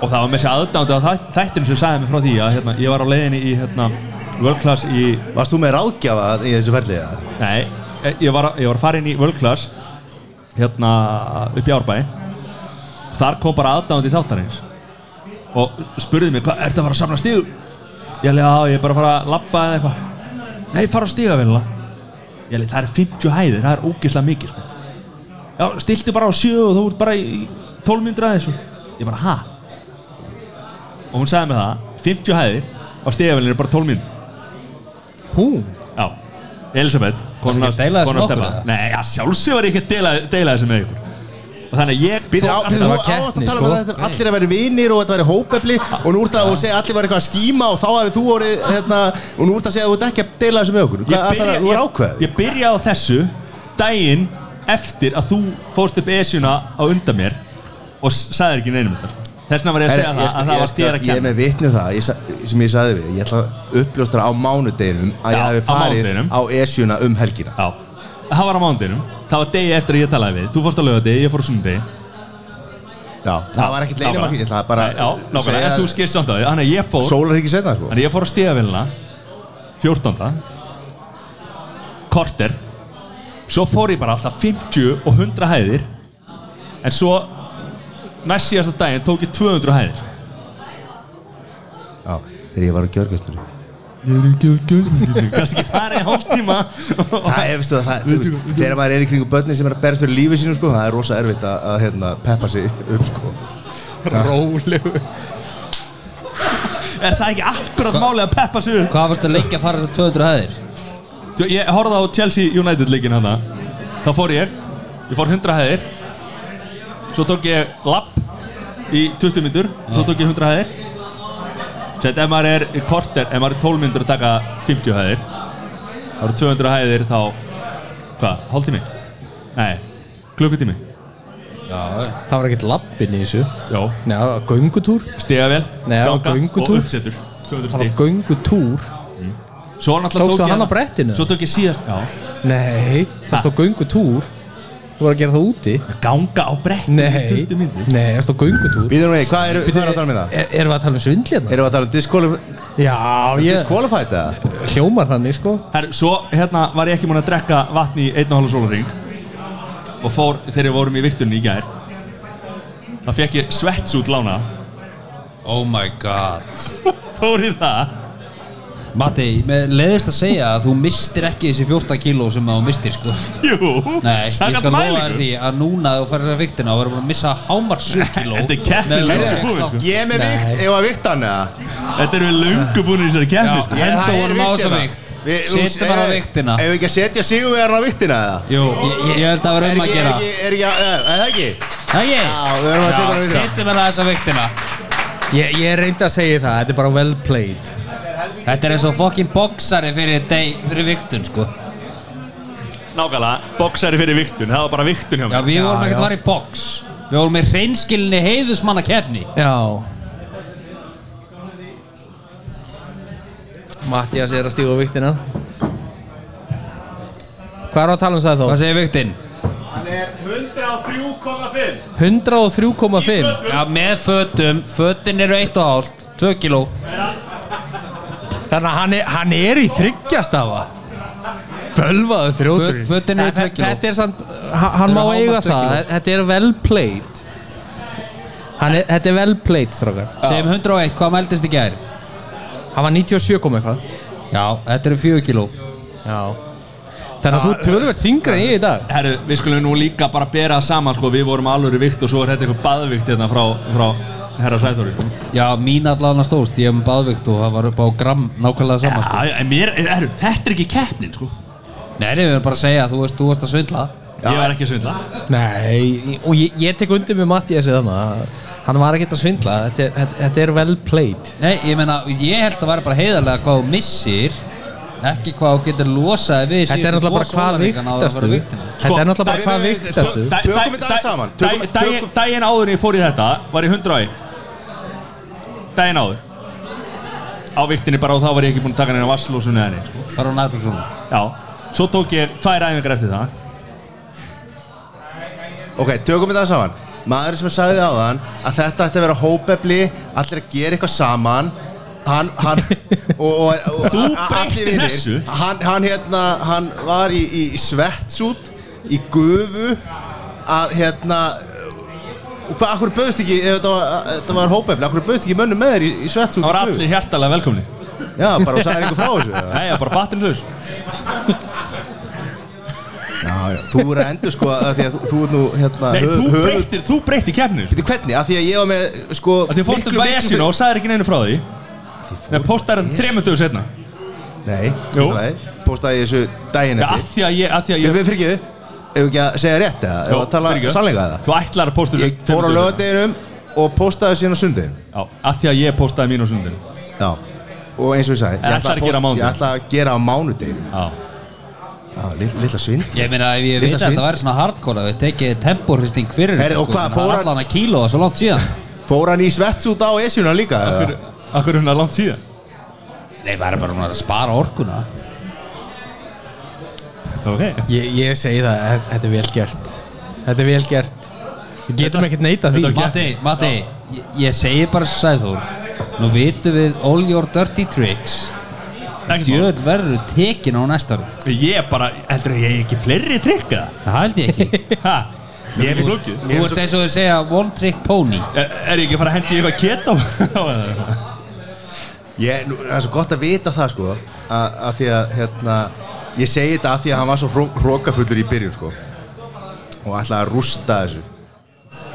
Speaker 1: og það var með þessi aðdándu að þætt- þættinu sem sagði mig frá því að hérna, ég var á leiðinni í hérna, World Class í
Speaker 3: Varst þú með ráðgjafa í þessu ferlið? eða?
Speaker 1: Nei, eh, ég var, ég var farin í World Class hérna upp í Árbæ þar kom bara aðdáðandi þáttarins og spurði mig, hvað, ertu að fara að safna stíðu? Ég leði, já, ég er bara að fara að labba eða eitthvað Nei, fara á stíða vel Ég leði, það er 50 hæðir, það er ógeðslega mikið sko. Já, stiltu bara á sjö og þú ert bara í í 12 myndir að þessu sko." Ég bara, ha? Og hún sagði mig það, 50 hæðir á stíðavelinu er bara 12 myndir
Speaker 2: Hún
Speaker 1: Já, Elisabeth
Speaker 4: Varstu ekki að deila þessu
Speaker 1: kona
Speaker 4: með okkur,
Speaker 1: Stebba.
Speaker 4: eða?
Speaker 1: Nei, já, sjálfsög var ég ekki að deila, deila þessu með ykkur Og þannig að ég
Speaker 3: Býðu, á,
Speaker 1: tók
Speaker 3: býðu,
Speaker 1: alltaf-
Speaker 3: þú
Speaker 2: var
Speaker 3: áast að
Speaker 2: keppni,
Speaker 3: tala
Speaker 2: sko.
Speaker 3: um að þetta allir að vera vinir og þetta veri hópefli og nú úr það að þú segja að allir var eitthvað að skíma og þá hefði þú orðið hérna, og nú úr það að segja að þú ert ekki að deila þessu með okkur
Speaker 1: ég
Speaker 3: Hvað ætlar
Speaker 1: byrja-
Speaker 3: að, þú er
Speaker 1: ég-
Speaker 3: ákveð
Speaker 1: Ég byrjaði á þessu daginn eftir að þú fóst upp esjuna á undan mér og s- sagðir ekki neinum um þetta Þess vegna var ég að segja það að það var þér að
Speaker 3: Ég er
Speaker 1: kenna
Speaker 3: með vitni um það ég, sa- sem ég sagði við, ég ætla að uppljóstra á mánudeginum að
Speaker 1: Já,
Speaker 3: ég hafi
Speaker 1: á
Speaker 3: farið
Speaker 1: mánudeginum.
Speaker 3: á esjuna um helgina
Speaker 1: Já, það var á mándinum Það var degi eftir að ég talaði við Þú fórst á lögadegi, ég fór á sunnudegi
Speaker 3: Já, það var ekkert leinimarkið, ég ætla bara
Speaker 1: Já, nákvæmlega, en þú
Speaker 3: segja
Speaker 1: skilst samt að því Þannig að ég fór
Speaker 3: sólarhyggi setna sko
Speaker 1: Þannig ég fór á stíðavélina 14. Korter Svo fór ég bara alltaf 50 og 100 hæðir En svo Næst síðasta daginn tók ég 200 hæðir
Speaker 3: Já, þegar ég var á gjörgjörslunni
Speaker 1: Kannski ekki farið í hálftíma
Speaker 3: Það efstu að það, þú veist, þegar maður er í kringu börni sem er að berða fyrir lífið sínu sko, það er rosa erfitt að, að hérna, peppa sig upp sko.
Speaker 2: Rólegu
Speaker 1: Er það ekki akkurat málið að peppa sig upp
Speaker 4: Hvað varstu lengi að fara þessar 200 hæðir?
Speaker 1: Þú, Ég horfði á Chelsea United leikin hana Þá fór ég Ég fór 100 hæðir Svo tók ég lapp Í 20 myndur Svo tók ég 100 hæðir Sett ef maður er í korter Ef maður er 12 myndur að taka 50 hæðir Það eru 200 hæðir þá Hvað? Hálftími? Nei Klukkutími?
Speaker 2: Það var ekkert lappin í þessu
Speaker 1: Já
Speaker 2: Nei, það var göngutúr
Speaker 1: Stiga vel
Speaker 2: Nei, á
Speaker 1: Og
Speaker 2: göngutúr.
Speaker 1: uppsetur 200
Speaker 2: Það var
Speaker 1: stig
Speaker 2: göngutúr
Speaker 1: Svo náttúrulega
Speaker 2: Tókstu
Speaker 1: tók ég
Speaker 2: hann á brettinu?
Speaker 1: Svo tók ég síðast Já
Speaker 2: Nei, það stóð göngutúr Þú var að gera það úti
Speaker 1: Ganga á brettinu í
Speaker 2: Nei,
Speaker 1: 20 myndur
Speaker 2: nei, það stóð göngutúr
Speaker 3: Býðum við, hvað eru hvað er að tala um það?
Speaker 2: Er- Erum við að tala um svindli hérna?
Speaker 3: Erum við að tala um disqualif-
Speaker 2: Já, ég
Speaker 3: disqualified eða?
Speaker 2: hljómar þannig sko
Speaker 1: Herru, svo hérna var ég ekki múin að drekka vatn í einn og halva sólaring og fór þegar við vorum í viltunni í gær þá fekk ég svets út lána (laughs)
Speaker 4: Oh my god
Speaker 1: fór í það
Speaker 4: Matti, með leiðist að segja að þú mistir ekki þessi 14 kíló sem að þú mistir sko
Speaker 1: Jú,
Speaker 4: Nei, ég
Speaker 1: samkvæmt
Speaker 4: skal lofa þér
Speaker 1: mælingum.
Speaker 4: því að núna ef þú færir þessar viktina og verður búin að missa hámar 7 kíló
Speaker 1: Þetta er keppni
Speaker 4: Með
Speaker 1: langt
Speaker 4: lögreglan.
Speaker 1: búin, sko.
Speaker 3: Ég er með vikt, ef að vikt hann eða?
Speaker 1: Þetta eru við lungu búin í þessari
Speaker 4: Já,
Speaker 1: kemmi
Speaker 4: henda
Speaker 3: það er
Speaker 4: honum á
Speaker 3: vikt
Speaker 4: þessa
Speaker 3: hérna.
Speaker 4: vikt
Speaker 3: Við- þú-
Speaker 4: Settu bara á
Speaker 3: ef-
Speaker 4: viktina
Speaker 3: Ef við ekki að setja sigurvegarinn á viktina eða?
Speaker 4: Jú, ég, ég held að vera
Speaker 3: Er
Speaker 4: um að
Speaker 3: ekki, er
Speaker 4: gera
Speaker 3: ekki, er ekki, að- eða, er það ekki?
Speaker 4: Það ég
Speaker 3: Já, við erum að setja hann á viktina
Speaker 4: Settu bara þessa viktina
Speaker 2: Ég, ég reyndi að segja það, þetta er bara well played
Speaker 4: Þetta er eins og fokkin boksari fyrir, deg, fyrir viktun sko
Speaker 1: Nákvæmlega, boksari fyrir viltun, það var bara viltun hjá
Speaker 4: Já,
Speaker 1: mér
Speaker 4: við
Speaker 2: Já,
Speaker 4: vorum ekkert
Speaker 2: já.
Speaker 4: að fara í boks Við vorum með hreinskilinni heiðusmanna kefni
Speaker 2: Já Mattias er að stíga á viktina Hvað er að tala um það
Speaker 4: Hvað
Speaker 2: þá?
Speaker 4: segir viktinn?
Speaker 3: Hann er 103,5
Speaker 2: 103,5
Speaker 4: Já, með fötum, fötin eru 1,5 2 kíló
Speaker 2: Þannig að hann er, hann er í þryggjastafa Bölvaðu þrjótur
Speaker 4: Föt- fötin eru tvö kíló.
Speaker 2: Þetta er samt, ha- hann má
Speaker 4: Þetta eru
Speaker 2: eiga
Speaker 4: hámark tvö
Speaker 2: það
Speaker 4: kíló.
Speaker 2: Þetta er well played Hann er, Þetta er well played, strákar
Speaker 4: Segjum 101, hvað mældist í gær?
Speaker 2: Hann var 97 kom eitthvað
Speaker 4: Já, þetta eru 4 kíló
Speaker 2: Já Þannig að þú tölverð þingra en ég í dag
Speaker 1: Herru, við skulum nú líka bara bera það saman sko, við vorum alvöru vikt og svo er þetta eitthvað baðvikt hérna frá, frá herra Sæþóri sko.
Speaker 4: Já, mín allan að stóðst, ég hef með baðvikt og það var upp á gram nákvæmlega saman sko.
Speaker 1: Já, en mér, herru, þetta er ekki keppnin sko.
Speaker 4: Nei, nei, við erum bara að segja, þú veist, þú veist að svindla
Speaker 1: Ég var ekki að svindla
Speaker 2: Nei, og ég, ég tek undir með Mattias eða maður Hann var ekkert að svindla, þetta er, þetta- þetta er well played
Speaker 4: Nei, ég meina, ég held að vera bara heiðarlega hvað þú missir ekki hvað þú getur losaði við
Speaker 2: Þetta
Speaker 4: síðustu
Speaker 2: er náttúrulega bara
Speaker 4: tvo
Speaker 2: hvað
Speaker 4: sólarhringana áður en
Speaker 2: viktastu
Speaker 4: þú ferð á vigtina.
Speaker 2: Þetta er náttúrulega bara hvað viktastu
Speaker 3: Dæ- Tökum þetta aðeins saman.
Speaker 1: Dæ-
Speaker 3: Tökum-
Speaker 1: dæ-
Speaker 3: tökum-
Speaker 1: Dægin áður en ég fór í þetta var ég 101 Dægin áður Á viktinni bara og þá var ég ekki búinn að taka neina vasslósun eða neitt sko.
Speaker 4: Bara á nærbuxunum.
Speaker 1: Já, svo tók ég tvær æfingar eftir það
Speaker 3: Ok, tökum þetta saman Maður sem sagði áðan að þetta ætti að vera hópefli Allir að gera eitthvað saman Hann,
Speaker 1: (laughs)
Speaker 3: hann og, og, og,
Speaker 1: Þú
Speaker 3: allir
Speaker 1: breyttir
Speaker 3: vinir.
Speaker 1: þessu.
Speaker 3: hann, hann, hérna, hann var í, í svetsút Í gufu Að hérna og Hvað, akkur bauðst ekki Ef þetta var, þetta var hópefli Akkur bauðst ekki mönnum með þér í, í svetsút
Speaker 1: Það var allir hjartalega velkomni
Speaker 3: Já, bara og sagði einhver frá
Speaker 1: (laughs)
Speaker 3: þessu eða?
Speaker 1: Nei, ég var bara batterislaus
Speaker 3: Já, já, þú er að endur sko að Því að þú, þú er nú hérna
Speaker 1: Nei, þú
Speaker 3: höfuð-
Speaker 1: breytir, þú sko. breytir keppnin
Speaker 3: Bíddu, hvernig? Af því að ég var með sko
Speaker 1: Það þið fórst um
Speaker 3: miklu, miklu-
Speaker 1: vesinu og sagðir ekki neinu frá því Nei, póstar þetta þremur dögur setna
Speaker 3: Nei,
Speaker 1: Jú.
Speaker 3: postaði, postaði þessu daginn
Speaker 1: Já, af
Speaker 3: eftir
Speaker 1: því að ég, af því að
Speaker 3: Við
Speaker 1: ég
Speaker 3: við fyrir ekki, ef ekki að segja rétt eða, ef
Speaker 1: Jó,
Speaker 3: að tala
Speaker 1: fyrirgefðu.
Speaker 3: sannleika eða
Speaker 1: Þú ætlar að pósta þessu
Speaker 3: Ég fór á
Speaker 1: fimm dögum seinna.
Speaker 3: lögadeginum og postaði síðan á sundin
Speaker 1: Já, af því að ég póstaði mín á sundin
Speaker 3: Já, og eins og ég sagði
Speaker 1: En ætlaði að gera á
Speaker 3: posta-
Speaker 1: mánudegi.
Speaker 3: Ég ætla að gera á mánudeginu
Speaker 1: Já,
Speaker 3: Já, lit- litla svind
Speaker 4: Ég meina, ef ég
Speaker 3: Litla
Speaker 4: veit að
Speaker 3: svind.
Speaker 4: þetta væri svona hardcore að við tekið temporhristing fyrir
Speaker 3: Herri, og hvað,
Speaker 4: en það
Speaker 3: fór
Speaker 4: er
Speaker 3: hann-
Speaker 4: allan að kílóa svo langt síðan
Speaker 3: Fór hann í svets út á esjuna líka eða?
Speaker 1: akkur, akkur er hún að langt síðan
Speaker 4: Nei, bara bara hún er að spara orkuna
Speaker 1: Ok
Speaker 2: Ég, ég segi það, þe- þetta er vel gert Þetta er vel gert Við getum ekkert neita því
Speaker 4: Matti, Matti, ég, ég segi bara sæður Nú vitum við all your dirty tricks
Speaker 1: Ekki mál.
Speaker 4: Djöð verður tekin á næsta ári
Speaker 1: Ég bara, heldur að ég hef ekki fleiri trikka
Speaker 4: Það held ég ekki
Speaker 1: Ha?
Speaker 3: Ég
Speaker 1: Ég
Speaker 3: finnst-
Speaker 1: flókið
Speaker 4: Þú ert eins og þau segja one trick pony
Speaker 1: Er er ég ekki að fara að hendi eitthvað keto? (laughs) á-
Speaker 3: Ég, nú, það er svo gott að vita það sko að, að því að hérna ég segi þetta að því að hann var svo hrókafullur í byrjun sko og ætlaði að rústa þessu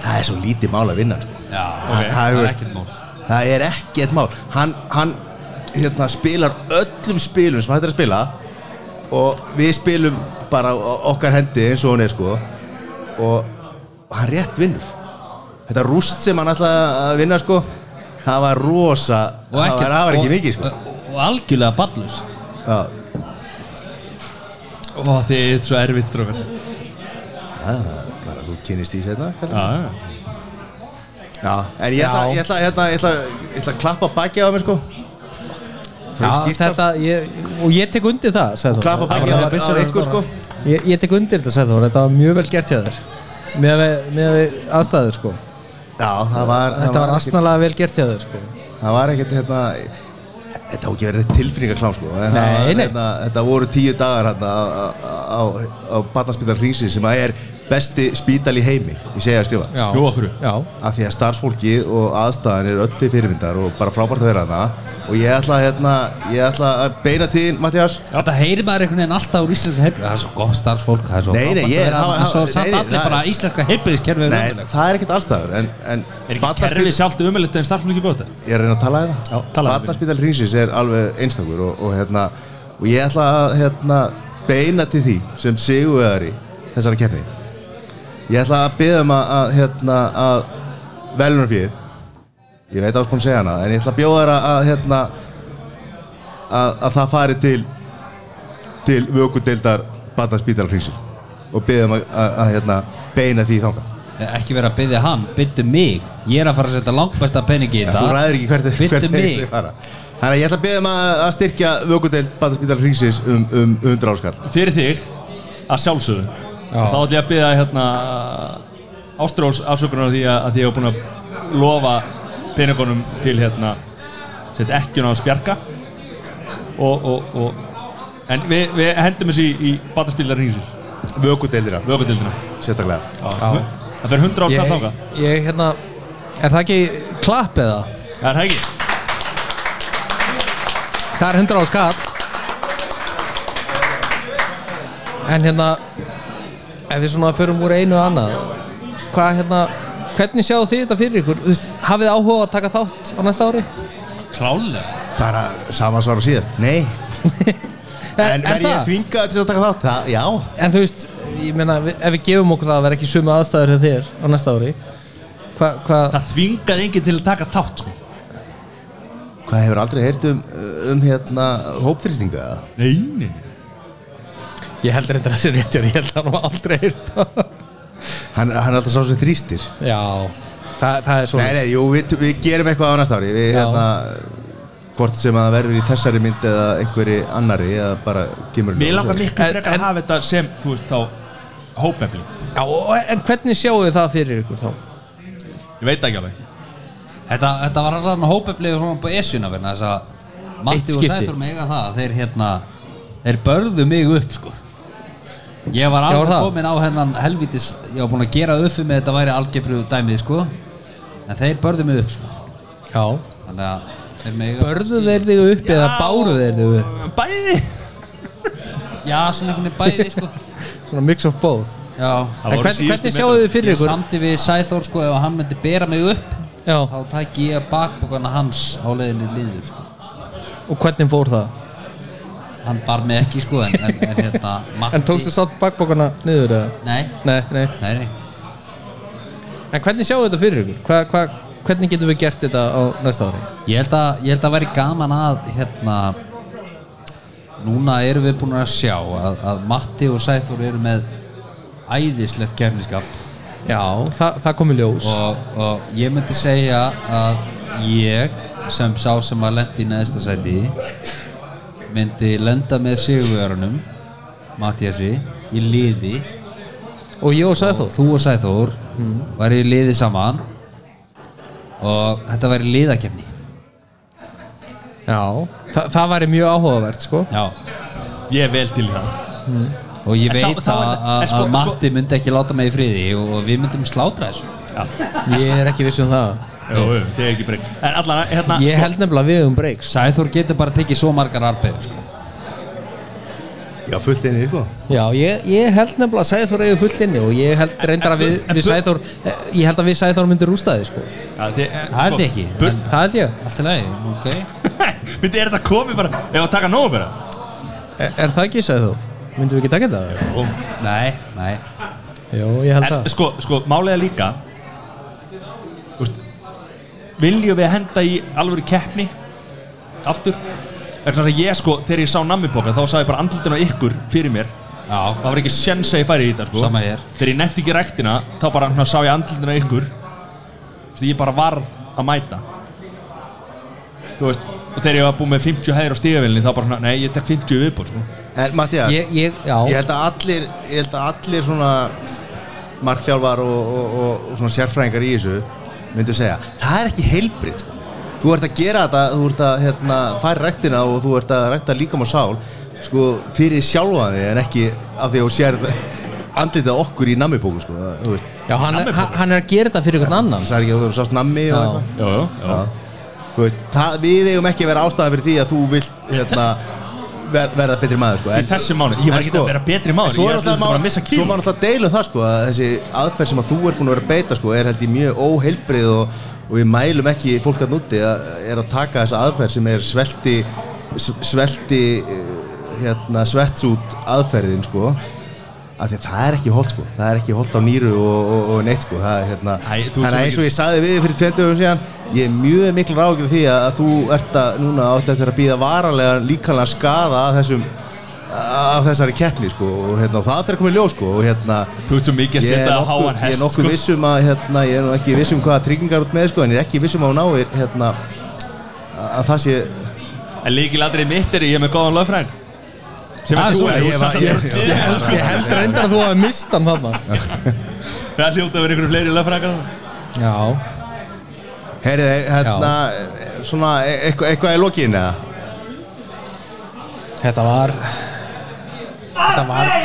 Speaker 3: það er svo lítið mál að vinna sko.
Speaker 4: Já,
Speaker 3: það, það,
Speaker 4: er
Speaker 3: er
Speaker 4: ekkert mál
Speaker 3: það er ekkert mál hann, hann hérna, spilar öllum spilum sem hægt er að spila og við spilum bara o- okkar hendi eins og hún er sko og, og hann rétt vinnur þetta rúst sem hann ætlaði að vinna sko það var rosa
Speaker 4: Og
Speaker 3: það var, það
Speaker 4: og-
Speaker 3: var ekki mikið sko
Speaker 4: og, og algjörlega ballus
Speaker 3: Já,
Speaker 1: Ó, þið er svo erfitt strókar Já,
Speaker 3: já, bara þú kynist því setna
Speaker 1: já
Speaker 3: Já, en ég ætla, ég ætla, ég ætla, ég ætla, ég ætla að klappa baki á mér sko
Speaker 2: Já, þetta, ég, og ég tek undir það sagði Þór.
Speaker 3: Klappa baki
Speaker 2: Það
Speaker 3: á,
Speaker 2: var-
Speaker 3: á ykkur sko
Speaker 2: ég, ég tek undir þetta, sagði þú, þetta var mjög vel gert hjá þér með, við, með við aðstæður sko.
Speaker 3: Já, það var, það
Speaker 2: þetta var
Speaker 3: ekkert-
Speaker 2: astanlega vel gert hjá þér sko.
Speaker 3: Það var ekkert, hérna Þetta á ekki verið tilfinningaklám sko en það
Speaker 2: Nei,
Speaker 3: var,
Speaker 2: nei.
Speaker 3: Hérna, Þetta voru tíu dagar hérna á, á, á, á Barnaspítal Hringsins sem að er besti spítal í heimi Ég segja að skrifa
Speaker 2: Já.
Speaker 1: Jú, okkur
Speaker 2: Já.
Speaker 3: af því að starfsfólkið og aðstæðan er öll til fyrirmyndar og bara frábært að vera hana og ég ætla, hérna, ég ætla að beina til þín, Mattias
Speaker 4: Þetta heyrir maður einhvern veginn alltaf úr íslenska heilbrið Það er svo gott starfsfólk Það er svo
Speaker 3: Nei, nei,
Speaker 4: frábært að
Speaker 3: ég-
Speaker 4: vera
Speaker 3: það var-
Speaker 4: þarna, Svo
Speaker 3: það-
Speaker 4: satt
Speaker 3: nei, nei,
Speaker 4: allir
Speaker 3: það-
Speaker 4: bara íslenska heilbriðiskerfið
Speaker 3: Nei, það er ekkert allstæður en, en
Speaker 1: Er ekki
Speaker 3: Barnaspítal-
Speaker 1: kerfið sjálft umjöldið en starfsfólki bjóta?
Speaker 3: Ég er að reyna að tala þetta
Speaker 1: Já, talaðu við.
Speaker 3: Barnaspítal Hringsins er alveg einstakur og, og, hérna, og ég ætla að hérna, beina til því sem sigurvegari þessara keppni Ég ætla að beða um að, að, hérna, að velunum fyrir Ég veit að það búin að segja hana en ég ætla að bjóða þér að, að, hérna, að, að það fari til til vökudeildar Barnaspítal Hringsins og beða um að, að, að hérna, beina því þangað
Speaker 4: ekki vera að byggja hann, byttu mig ég er að fara að setja langbæsta peningi í
Speaker 3: Já, þú ræður ekki hvert
Speaker 4: byttu
Speaker 3: hvert
Speaker 4: mig
Speaker 3: þeir fara Þannig að ég ætla að beða maður að styrkja vökudeild Bataspítal Hringsins um, um 100 áskall
Speaker 1: fyrir þig að sjálfsögðu þá ætlum ég að byrja hérna Ástrós afsökunar á því að, að því ég hef búin að lofa peningunum til hérna set ekkjun á spjarka og, og, og en við, við hendum þessi í, í bataspílar hringsins,
Speaker 3: Vökudeildina,
Speaker 1: vögundildina
Speaker 3: sérstaklega
Speaker 1: það fer 100 áskall
Speaker 2: ég,
Speaker 1: þáka
Speaker 2: ég, hérna Er það ekki klapp eða?
Speaker 1: það er það ekki
Speaker 2: Það er 100 á skall En hérna Ef við svona förum úr einu og annað Hvað hérna Hvernig sjáðu þið þetta fyrir ykkur? Þú veist, hafið þið áhuga á að taka þátt á næsta ári?
Speaker 1: klálega
Speaker 3: Bara sama svar og síðast, nei En
Speaker 2: er
Speaker 3: verð ég
Speaker 2: það?
Speaker 3: þvingað til að taka þátt? Það, já,
Speaker 2: En þú veist, ég meina, við- ef við gefum okkur það að vera ekki sömu aðstæður hjá þér á næsta ári Hvað, hvað,
Speaker 1: það þvingaði enginn til að taka þátt sko.
Speaker 3: hvað hefur aldrei heyrt um, um hérna hópfyrstinga eða?
Speaker 1: nei, nei, nei
Speaker 2: ég held reyndar að sér réttjör, ég held að hann var aldrei heyrt það.
Speaker 3: Hann, hann er alltaf sá sem þrýstir
Speaker 2: Já, það, það er svona
Speaker 3: Nei, nei, jú, við, við gerum eitthvað á næsta ári Við
Speaker 2: Já.
Speaker 3: hérna Hvort sem að það verður í þessari mynd eða einhverju annari eða bara kemur í
Speaker 1: Mér
Speaker 3: ljós.
Speaker 1: langar miklu frekar
Speaker 2: En- en-
Speaker 1: að hafa þetta sem, þú veist, þá hópefli.
Speaker 2: Já, og- en hvernig sjáu þið það fyrir ykkur þá?
Speaker 1: Ég veit ekki alveg.
Speaker 4: Þetta, þetta var allan hópeflegu frá på Esjuna vegna þess að
Speaker 2: Eitt
Speaker 4: Matti og
Speaker 2: skipti.
Speaker 4: Sæþór mega það að þeir hérna þeir börðu mig upp sko ég var
Speaker 2: var
Speaker 4: alveg
Speaker 2: það?
Speaker 4: kominn á hennan helvítis ég var búinn að gera uppi með þetta væri algebru dæmið sko en þeir börðu mig upp sko
Speaker 2: Já
Speaker 4: þannig að þeir mega
Speaker 2: Börðu þeir þig upp eða báru þeir þig upp?
Speaker 1: Bæði!
Speaker 4: já svona einhvern veginn bæði sko
Speaker 2: Svona mix of both
Speaker 4: já
Speaker 1: Það
Speaker 2: En
Speaker 1: voru
Speaker 2: hvern,
Speaker 1: síðustu
Speaker 2: hvernig
Speaker 1: metrar.
Speaker 2: sjáu þið fyrir
Speaker 4: ég
Speaker 2: ykkur?
Speaker 4: samti við Sæþór sko ef hann myndi bera mig upp
Speaker 2: Já,
Speaker 4: þá tæki ég bakbókana hans á leiðinni liður sko
Speaker 2: og hvernig fór það?
Speaker 4: hann bar mig ekki sko en, en, en hérna Matti
Speaker 2: (laughs) En tókstu samt bakbókana niður eða?
Speaker 4: nei
Speaker 2: Nei, nei
Speaker 4: nei nei
Speaker 2: En hvernig sjáu þetta fyrir ykkur? Hva, hva, hvernig getum við gert þetta á næsta ári?
Speaker 4: Ég held að, ég held að væri gaman að hérna núna erum við búin að sjá að, að Matti og Sæþór eru með æðislegt kemniskap
Speaker 2: Já, það, það kom í ljós
Speaker 4: og, og ég myndi segja að ég sem sá sem að lendi í neðsta sæti myndi lenda með sigurverunum Mattiasi í liði
Speaker 2: Og ég og sagði
Speaker 4: og þú og Sæþór
Speaker 1: Mm.
Speaker 4: væri í liði saman og þetta væri liðakefni
Speaker 2: Já, það, það væri mjög áhugavert sko
Speaker 4: Já
Speaker 1: Ég er vel til í það.
Speaker 4: og ég
Speaker 1: En þá-
Speaker 4: veit
Speaker 1: þá er
Speaker 4: að,
Speaker 1: það-
Speaker 4: að,
Speaker 1: en sko-
Speaker 4: að Matti myndi ekki láta mig í friði og, og við myndum slátra þessu
Speaker 2: Ég er ekki viss um það
Speaker 1: Jú, jú, þið er ekki breyk. En allan, hérna,
Speaker 2: Ég held nefnilega að við um breaks
Speaker 4: Sæþór getur bara tekið svo margar arbeið sko.
Speaker 3: Já, fullt einnig, sko
Speaker 2: Já, ég, ég held nefnilega að Sæþór eigi fullt inni og ég held reyndar að við, við Sæþór eh, ég held að við Sæþór myndi rústa þið sko
Speaker 1: ja, þið, eh,
Speaker 4: Það er
Speaker 1: sko,
Speaker 4: þið ekki
Speaker 1: bur- (laughs)
Speaker 4: en,
Speaker 2: Það held ég
Speaker 4: Allt í lagi, ok
Speaker 1: Myndi, er þetta komið bara, ef að taka nógu bara?
Speaker 2: Er, er það ekki, sagði þú? Myndum við ekki taka þetta?
Speaker 4: Nei, nei
Speaker 2: Jó, ég held
Speaker 1: En
Speaker 2: það
Speaker 1: sko, sko, málega líka, þú veist, viljum við henda í alvöru keppni, aftur? Vegna þess að ég, sko, þegar ég sá nammipoka, þá sá ég bara andlutin á ykkur fyrir mér.
Speaker 4: Já,
Speaker 1: Það var ekki sjens að ég færi í þetta, sko.
Speaker 4: Sama hér.
Speaker 1: Þegar ég nefndi ekki ræktina, þá bara svona, sá ég andlutin á ykkur. Þú veist, ég bara varð að mæta. Þú veist, og þegar ég var búinn með 50 hæðir á stígavillinni, þá bara, svona, nei, ég tek 50 viðbót, sko.
Speaker 3: En Mattias,
Speaker 2: Ég, ég, já,
Speaker 3: Ég held að allir, ég held að allir svona markþjálfar og, og, og, og svona sérfræðingar í þessu myndu segja, það er ekki heilbritt sko. þú ert að gera þetta, þú ert að hérna, fara rektina og þú ert að rekta líkam og sál sko, fyrir sjálfan þig en ekki af því að þú sérð andlitað okkur í nammibóku sko. það þú veist,
Speaker 2: já hann, er, hann- hann er að gera þetta fyrir einhvern annan
Speaker 3: það er ekki að þú eru sást nammi og
Speaker 2: Já.
Speaker 3: eitthvað
Speaker 1: Jú, jú, jú.
Speaker 3: Já. Þú veist, það, við eigum ekki að vera ástæðan fyrir því að þú vilt hérna, ver, verða betri maður sko.
Speaker 1: Í þessu mánu, ég var ekki að vera betri maður,
Speaker 3: en sko,
Speaker 1: ég
Speaker 3: svo er
Speaker 1: ætlaði
Speaker 3: alltaf
Speaker 1: bara
Speaker 3: má-
Speaker 1: að missa
Speaker 3: svo
Speaker 1: kíló.
Speaker 3: má alltaf deila um það sko, að þessi aðferð sem að þú er búin að vera að beita sko, er held ég mjög óheilbrið og, og við mælum ekki fólk að núti að er að taka þessa aðferð sem er svelti s- svelti eh, hérna, svetsút aðferðin sko af því að það er ekki holdt sko það er ekki holdt á nýru og, og, og neitt sko það er hérna
Speaker 1: Æ, þú ert svo
Speaker 3: þannig að eins og ég saði við þig fyrir 20 árum síðan ég er mjög mikil ráðgjörð því að, að þú ert að núna átt eftir að býða varalega líkanlega skada að þessum af þessari keppni sko og hérna, og það eftir að koma í ljós sko og hérna
Speaker 1: Þú ert svo mikið að
Speaker 3: ég er
Speaker 1: setja á
Speaker 3: nokkuð,
Speaker 1: háan
Speaker 3: ég er
Speaker 1: hest
Speaker 3: nokkuð
Speaker 1: sko.
Speaker 3: vissum að hérna, ég er nú ekki vissum hvaða tryggingar út með sko en ég er ekki vissum að hún náir hérna að að það sé
Speaker 1: En líkilandrið mitt er ég er með góðan lögfræn sem
Speaker 2: Ah,
Speaker 1: er þú
Speaker 2: svona,
Speaker 1: er
Speaker 3: ég
Speaker 1: þú
Speaker 3: var-
Speaker 1: samt að
Speaker 3: ég-
Speaker 1: vera
Speaker 3: ég-
Speaker 1: til.
Speaker 2: Ég held reyndar að þú hafi mist hann þarna
Speaker 1: Það hljóta að vera ykkur fleiri lögfrækar
Speaker 2: Já
Speaker 3: heyrðu hérna svona e- eitthvað eitthvað í lokin eða
Speaker 2: Þetta var Þetta var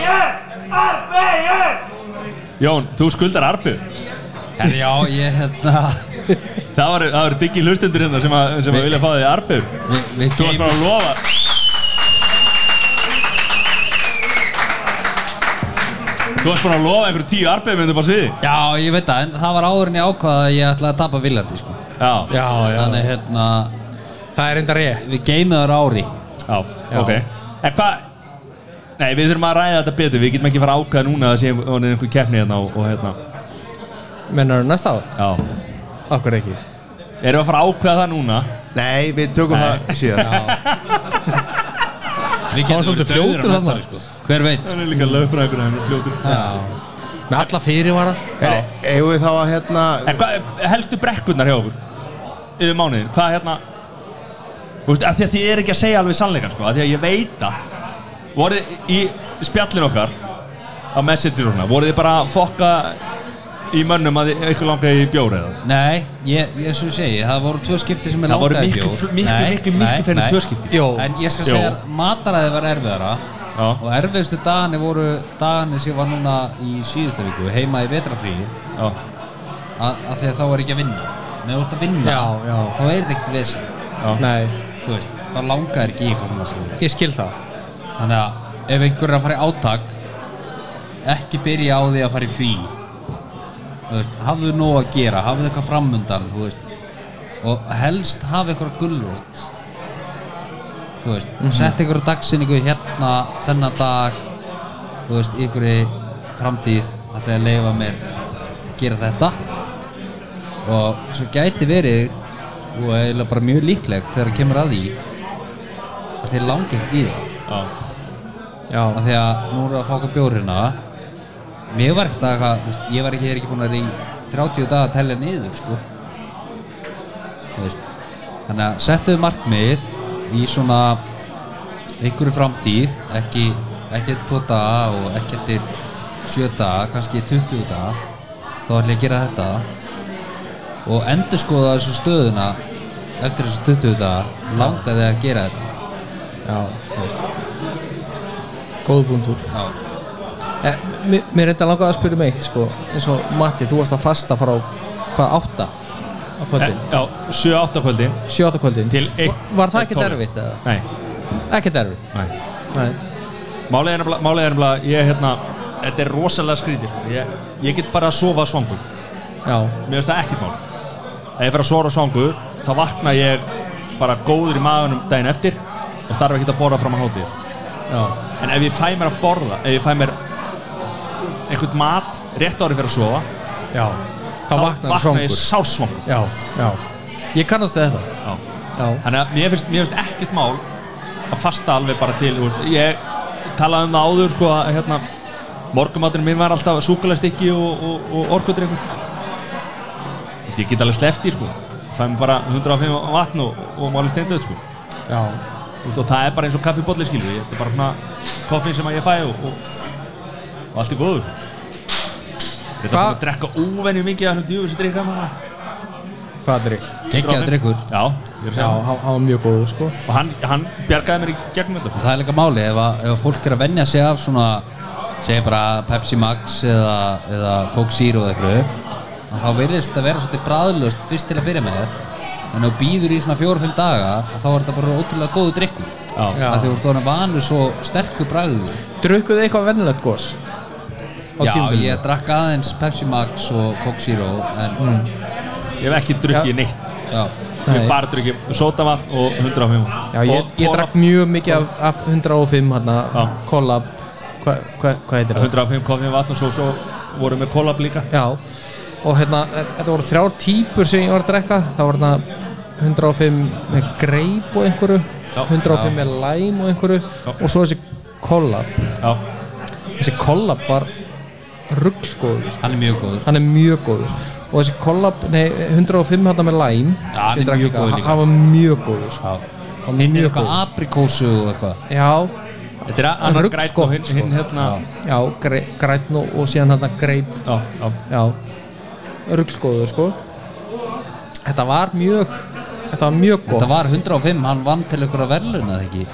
Speaker 1: Jón, þú skuldar arbu
Speaker 4: Herri, já, ég hérna
Speaker 1: Það var- það eru diggi hlustendur hérna sem að, sem að vilja fá þig arbu
Speaker 4: Við, við
Speaker 1: Þú varst bara að lofa Þú varst bara að lofa einhverjum tíu arbu myndum á sviði
Speaker 4: Já, ég veit það, en það var áður en ég ákvaða að ég ætlaði að tapa viljandi, sko.
Speaker 1: Já,
Speaker 2: Já, já
Speaker 4: Þannig, hérna,
Speaker 2: Það er reyndar ég
Speaker 4: við geymið þar ári.
Speaker 1: já, ok En hvað Nei, við þurfum að ræða þetta betur, við getum ekki fara að ákveða núna að það sé orðin einhver keppni hérna og, og hérna
Speaker 2: Mennar þú næsta ár?
Speaker 1: Já
Speaker 2: Okkur ekki
Speaker 1: Erum við að fara að ákveða það núna?
Speaker 3: nei við tökum það síðan
Speaker 4: Það var svolítið fljótur þarna. Sko. Hver veit,
Speaker 1: Hann er líka lögfrækur en fljótur
Speaker 2: Já Með alla fyrirvara
Speaker 3: Heyrðu, eigum við þá að hérna
Speaker 1: En hvað, helstu brekkurnar hjá okkur yfir mánuðin, hvað hérna Þú veist, af því að þið er ekki að segja alveg sannleikan sko, af því að ég veit að voruð í spjallin okkar á message svona, voruð þið bara að fokka í mönnum að þið eitthvað langa í bjór eða
Speaker 4: Nei, ég, ég svo segi, það voru tvö skipti sem ég
Speaker 1: Það voru
Speaker 4: langaði
Speaker 1: miklu-
Speaker 4: bjór.
Speaker 1: miklu-
Speaker 4: Nei,
Speaker 1: miklu- miklu
Speaker 4: nei,
Speaker 1: fleiri en
Speaker 4: nei.
Speaker 1: tvö skipti.
Speaker 2: Jó.
Speaker 4: En ég skal
Speaker 1: Jó.
Speaker 4: segja, mataræði var erfiðara
Speaker 1: Já.
Speaker 4: og erfiðustu dagani voru dagani sem ég var núna í síðustu viku, heima í vetrafríi,
Speaker 1: Já,
Speaker 4: að að því að þá er ekki að vinna. Nei, þú ert að vinna,
Speaker 2: Já, já.
Speaker 4: þá er þetta ekkert vesen.
Speaker 1: já,
Speaker 2: Nei
Speaker 4: Þú veist, þá langar ekki í eitthvað svona sem
Speaker 2: Ég skil það
Speaker 4: Þannig að ef einhver er að fara í átak ekki byrja á því að fara í frí þú veist, hafðu nóg að gera hafðu eitthvað framundan þú veist, og helst hafa eitthvað gullrót þú veist, mm -hmm. sett einhverja dagsinningu hérna þennan dag þú veist, í einhverju framtíð ætla ég að leifa mér að gera þetta og svo gæti verið og eiginlega bara mjög líklegt þegar það kemur að því að þeir langi ekkert í það
Speaker 1: já
Speaker 4: af því að nú erum við að fá okkur bjór hérna mér var ekkert að eitthvað, þú veist, ég var ekki, ég er ekki búin að vera í 30 daga að tellja niður sko Þú veist, þannig að settu markmið í svona einhverju framtíð ekki, ekki tvo daga og ekki eftir 7 daga, kannski 20 daga þá ætla ég að gera þetta og endur skoða þessu stöðuna eftir þessu 20 daga langaði að gera þetta
Speaker 2: Já
Speaker 4: þú veist,
Speaker 2: Góðu búndur
Speaker 4: já,
Speaker 2: eh, Mér, mér reyndar langaði að spyrja um eitt sko eins og Matti, þú varst að fasta frá hvað átta á kvöldin
Speaker 1: Eh, Já, 7-8 kvöldin
Speaker 2: Sjóta kvöldin
Speaker 1: til 1
Speaker 2: Var það ekkert erfitt eða?
Speaker 1: Nei,
Speaker 2: Ekkert erfitt
Speaker 1: nei
Speaker 2: Nei
Speaker 1: Málið er nefnilega, málið er nefnilega, ég hérna, þetta er rosalega skrítið. Ég, ég get bara að sofa svangur.
Speaker 2: Já
Speaker 1: Mér finnst það ekkert mál. Ef ég fer að sofa svangur, þá vakna ég bara góður í maðunum daginn eftir og þarf ekki að borða fram að hátir.
Speaker 2: Já
Speaker 1: En ef ég fæ mér að borða, ef ég fæ mér einhvern mat rétt ári fyrir að sofa,
Speaker 2: Já Þá vaknar þú
Speaker 1: ég
Speaker 2: svangur
Speaker 1: sársvangur.
Speaker 2: Já Já Ég kannast við þetta
Speaker 1: Já.
Speaker 2: Já
Speaker 1: Þannig að mér finnst, mér finnst ekkert mál að fasta alveg bara til, þú veist, ég talaði um það áður, sko, að hérna, morgumaturinn minn var alltaf súkulegstykki og, og, og orkudrykkur. Ég get alveg sleppt í, sko, fæ mér bara 105 vatn og, og máli steinduð, sko.
Speaker 2: Já
Speaker 1: Þú veist, og það er bara eins og kaffibolli, skilur, ég, þetta er bara svona koffin sem að ég fæ og, og, og allt er góður. Þetta er
Speaker 2: Hva-
Speaker 1: bara að drekka óvenju mikið af hennum djúfur sem drikkaði maður.
Speaker 2: Hvað er þig?
Speaker 4: geggjaða drikkur
Speaker 1: Já, ég er að
Speaker 2: Já,
Speaker 1: segja.
Speaker 2: hann hann var mjög góður sko
Speaker 1: Og hann, hann bjargaði mér í gegnum þetta,
Speaker 4: Og það er líka máli ef, að, ef að fólk er að vennja sig af svona segja bara Pepsi Max eða, eða Coke Zero eða eitthvað að þá verðist að vera svolítið bræðlust fyrst til að byrja með en ef þú býður í svona fjóra-fimm daga að þá er þetta bara ótrúlega góðu drikkur
Speaker 1: Já.
Speaker 4: að því þú ert orðin vanur svo sterkur bræðu
Speaker 2: Drukkuðu eitthvað vennilegt gos? Á
Speaker 4: Já,
Speaker 2: tímabilinu?
Speaker 4: ég drakk aðeins Pepsi Max og Coke Zero en
Speaker 1: Ég hef ekki drukkið neitt
Speaker 4: já,
Speaker 1: Ég
Speaker 2: Nei.
Speaker 1: hef bara drukkið sótavatn og 105
Speaker 2: Já, ég,
Speaker 1: Og-
Speaker 2: ég
Speaker 1: og-
Speaker 2: drakk mjög mikið af, af 105 hérna,
Speaker 1: Já.
Speaker 2: kollab, hvað hva, hva heitir það?
Speaker 1: 105 koffin vatn og svo, svo voru með kólab líka
Speaker 2: Já, og hérna, e- þetta voru þrjár típur sem ég var að drekka, það voru hérna 105 með greip og einhverju,
Speaker 1: Já.
Speaker 2: 105 með læm og einhverju
Speaker 1: Já.
Speaker 2: og svo þessi collab
Speaker 1: Já,
Speaker 2: þessi collab var rugglgóður sko.
Speaker 4: Hann er mjög góður
Speaker 2: hann er mjög góður og þessi collab, nei, 105 hérna með Lime
Speaker 4: Já, hann
Speaker 2: sem ég
Speaker 4: er
Speaker 2: drakk
Speaker 4: mjög
Speaker 2: líka,
Speaker 4: góður
Speaker 2: hann-
Speaker 4: líka.
Speaker 2: hann var mjög góður sko. hann var
Speaker 4: Hinn er
Speaker 2: mjög
Speaker 4: eitthvað
Speaker 2: góður
Speaker 4: aprikósu og eitthvað
Speaker 2: já,
Speaker 1: þetta er annar
Speaker 2: Rugg
Speaker 1: græn
Speaker 2: gott,
Speaker 1: og hinn
Speaker 2: sko.
Speaker 1: hin, hérna
Speaker 2: já, gre- grænn og, og síðan hérna greip
Speaker 1: Já, já,
Speaker 2: já, rugglgóður sko þetta var mjög þetta var mjög góð
Speaker 4: Þetta var 105, hann vann til einhverja verðlun eða ekki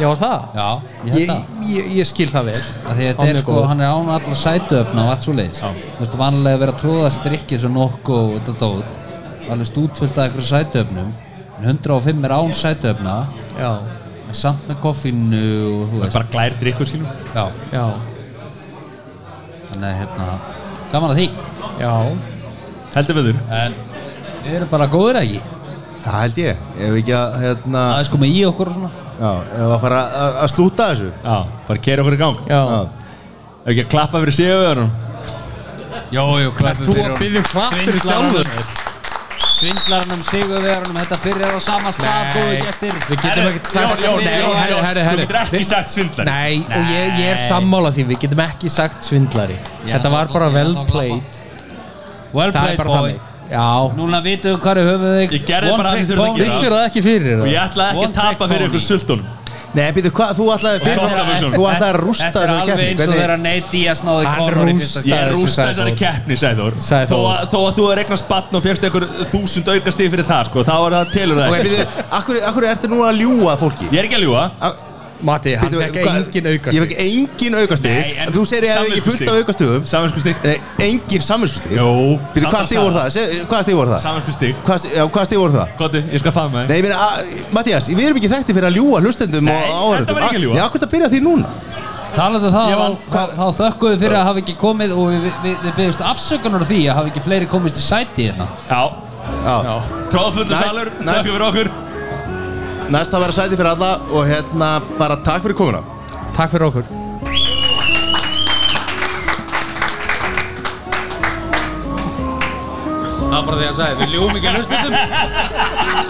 Speaker 2: já, var það?
Speaker 4: Já, ég
Speaker 2: ég,
Speaker 4: held það
Speaker 2: ég, ég skil það vel
Speaker 4: Af Því að
Speaker 2: Hann
Speaker 4: þetta er
Speaker 2: er
Speaker 4: sko,
Speaker 2: góður.
Speaker 4: hann er án allar sætuöfna og allt svo leiðis Þú veist, vanlega að vera að tróða strikki svo nokku og þetta dót Alveg stútfullt af einhverju sætuöfnum En 105 er án sætuöfna
Speaker 2: já,
Speaker 4: En samt með koffinu og þú veist
Speaker 1: bara glær drikkur skilur
Speaker 4: Já,
Speaker 2: já,
Speaker 4: þannig að hérna Gaman að því
Speaker 2: já
Speaker 1: Heldur við
Speaker 2: Eh.
Speaker 1: þur
Speaker 4: En við erum bara góðir eða ekki
Speaker 3: Það held ég, ef ekki að, hérna,
Speaker 4: Það er sko með í okkur og svona
Speaker 3: já, ef að fara að- að slúta þessu.
Speaker 1: Já, bara kera okkur í gang
Speaker 2: já,
Speaker 3: Já.
Speaker 1: Ef ekki að klappa fyrir sigurveðunum
Speaker 4: Jó, jó, klappum
Speaker 2: þú að byggja hvað fyrir sjálfur
Speaker 4: Svindlarnum, sigurverunum, þetta byrjar á sama stað, góðu gestir
Speaker 2: við getum ekkert sagt
Speaker 1: Jón, Jón,
Speaker 2: Nei,
Speaker 1: Jón,
Speaker 2: herri,
Speaker 1: Jón,
Speaker 2: herri,
Speaker 1: þú
Speaker 2: herri.
Speaker 1: getur ekki sagt svindlar
Speaker 2: Nei, og ég, ég er sammála því við getum ekki sagt svindlari
Speaker 4: Ég
Speaker 2: þetta
Speaker 4: ætla
Speaker 2: var
Speaker 4: að-
Speaker 2: bara
Speaker 4: ég
Speaker 2: well
Speaker 4: ætla að klappa.
Speaker 2: played
Speaker 4: Well
Speaker 2: það er
Speaker 4: played,
Speaker 2: bara
Speaker 4: boy
Speaker 2: þannig já,
Speaker 4: Núna vitum við hvað er höfuð þig
Speaker 1: Ég gerði
Speaker 4: One
Speaker 1: bara það
Speaker 4: trick
Speaker 1: sem þurfti að
Speaker 4: pony.
Speaker 1: gera.
Speaker 2: vissir það ekki fyrir
Speaker 1: Og ég
Speaker 2: það
Speaker 1: ætlaði ekki
Speaker 4: One
Speaker 1: að tapa
Speaker 4: trick
Speaker 1: fyrir
Speaker 4: pony.
Speaker 1: ykkur sultunum
Speaker 3: Nei, býtu, hvað, þú ætlaði fyrir
Speaker 1: Sokkabuxunum.
Speaker 3: þú ætlaði að rústa
Speaker 4: Þetta er
Speaker 3: þessari
Speaker 4: alveg
Speaker 3: keppni,
Speaker 4: eins og þegar Nate Diaz náði
Speaker 2: Hann
Speaker 4: konur í fyrsta
Speaker 2: rústaði
Speaker 1: Ég
Speaker 2: þessu,
Speaker 1: rústa
Speaker 2: sagði
Speaker 1: þessari
Speaker 2: Þór.
Speaker 1: keppni, sagði Þór
Speaker 2: Sagði
Speaker 1: Þó
Speaker 2: Þór.
Speaker 1: að- Þó að þú er eignast batn og fjöxt einhver þúsund aukast yfir fyrir það sko Þá er það telur það
Speaker 3: Ok,
Speaker 1: ekki
Speaker 3: býtu, akkur, akkur ertu núna að ljúa fólki?
Speaker 1: Ég er ekki að ljúa
Speaker 3: Ak-
Speaker 2: Mati, hann
Speaker 3: bíddu,
Speaker 2: fekk
Speaker 3: hvað-
Speaker 2: engin aukast
Speaker 3: Ég fekk engin aukastig,
Speaker 1: Nei, en
Speaker 3: þú segir ég hef ekki fullt af
Speaker 1: samviskustig.
Speaker 3: aukastugum Eh.
Speaker 1: Samvinskustig
Speaker 3: Nei, engin samvinskustig
Speaker 1: Jó
Speaker 3: Býtu, hvað stíð voru það? Seg- Hvað stíð voru það?
Speaker 1: Samvinskustig
Speaker 3: Hvað stig- Já, hvað stíð voru það?
Speaker 1: Gotti, ég skal faða með
Speaker 3: Nei, ég meina, Mattias, við erum ekki þekkti fyrir að ljúa hlustendum
Speaker 1: Nei,
Speaker 3: og
Speaker 1: þetta
Speaker 3: áhörðum
Speaker 1: var ekki að ljúga.
Speaker 3: Já, hvernig að byrja því núna?
Speaker 4: Talandu það,
Speaker 1: Ég vann-
Speaker 4: þá- þá- þá þökkum við fyrir að hafa ekki komið og við, við, við byggðust afsökunar á því að hafa ekki fleiri komist í sæti hérna
Speaker 1: þig Já
Speaker 3: Já
Speaker 1: Tróðfullur
Speaker 3: Næst-
Speaker 1: salur
Speaker 3: næst-
Speaker 1: Takk fyrir okkur
Speaker 3: Næst að vera sæti fyrir alla og hérna, bara takk fyrir komuna
Speaker 2: takk fyrir okkur
Speaker 4: Það var bara því að sagði, við ljúum ekki hlustendum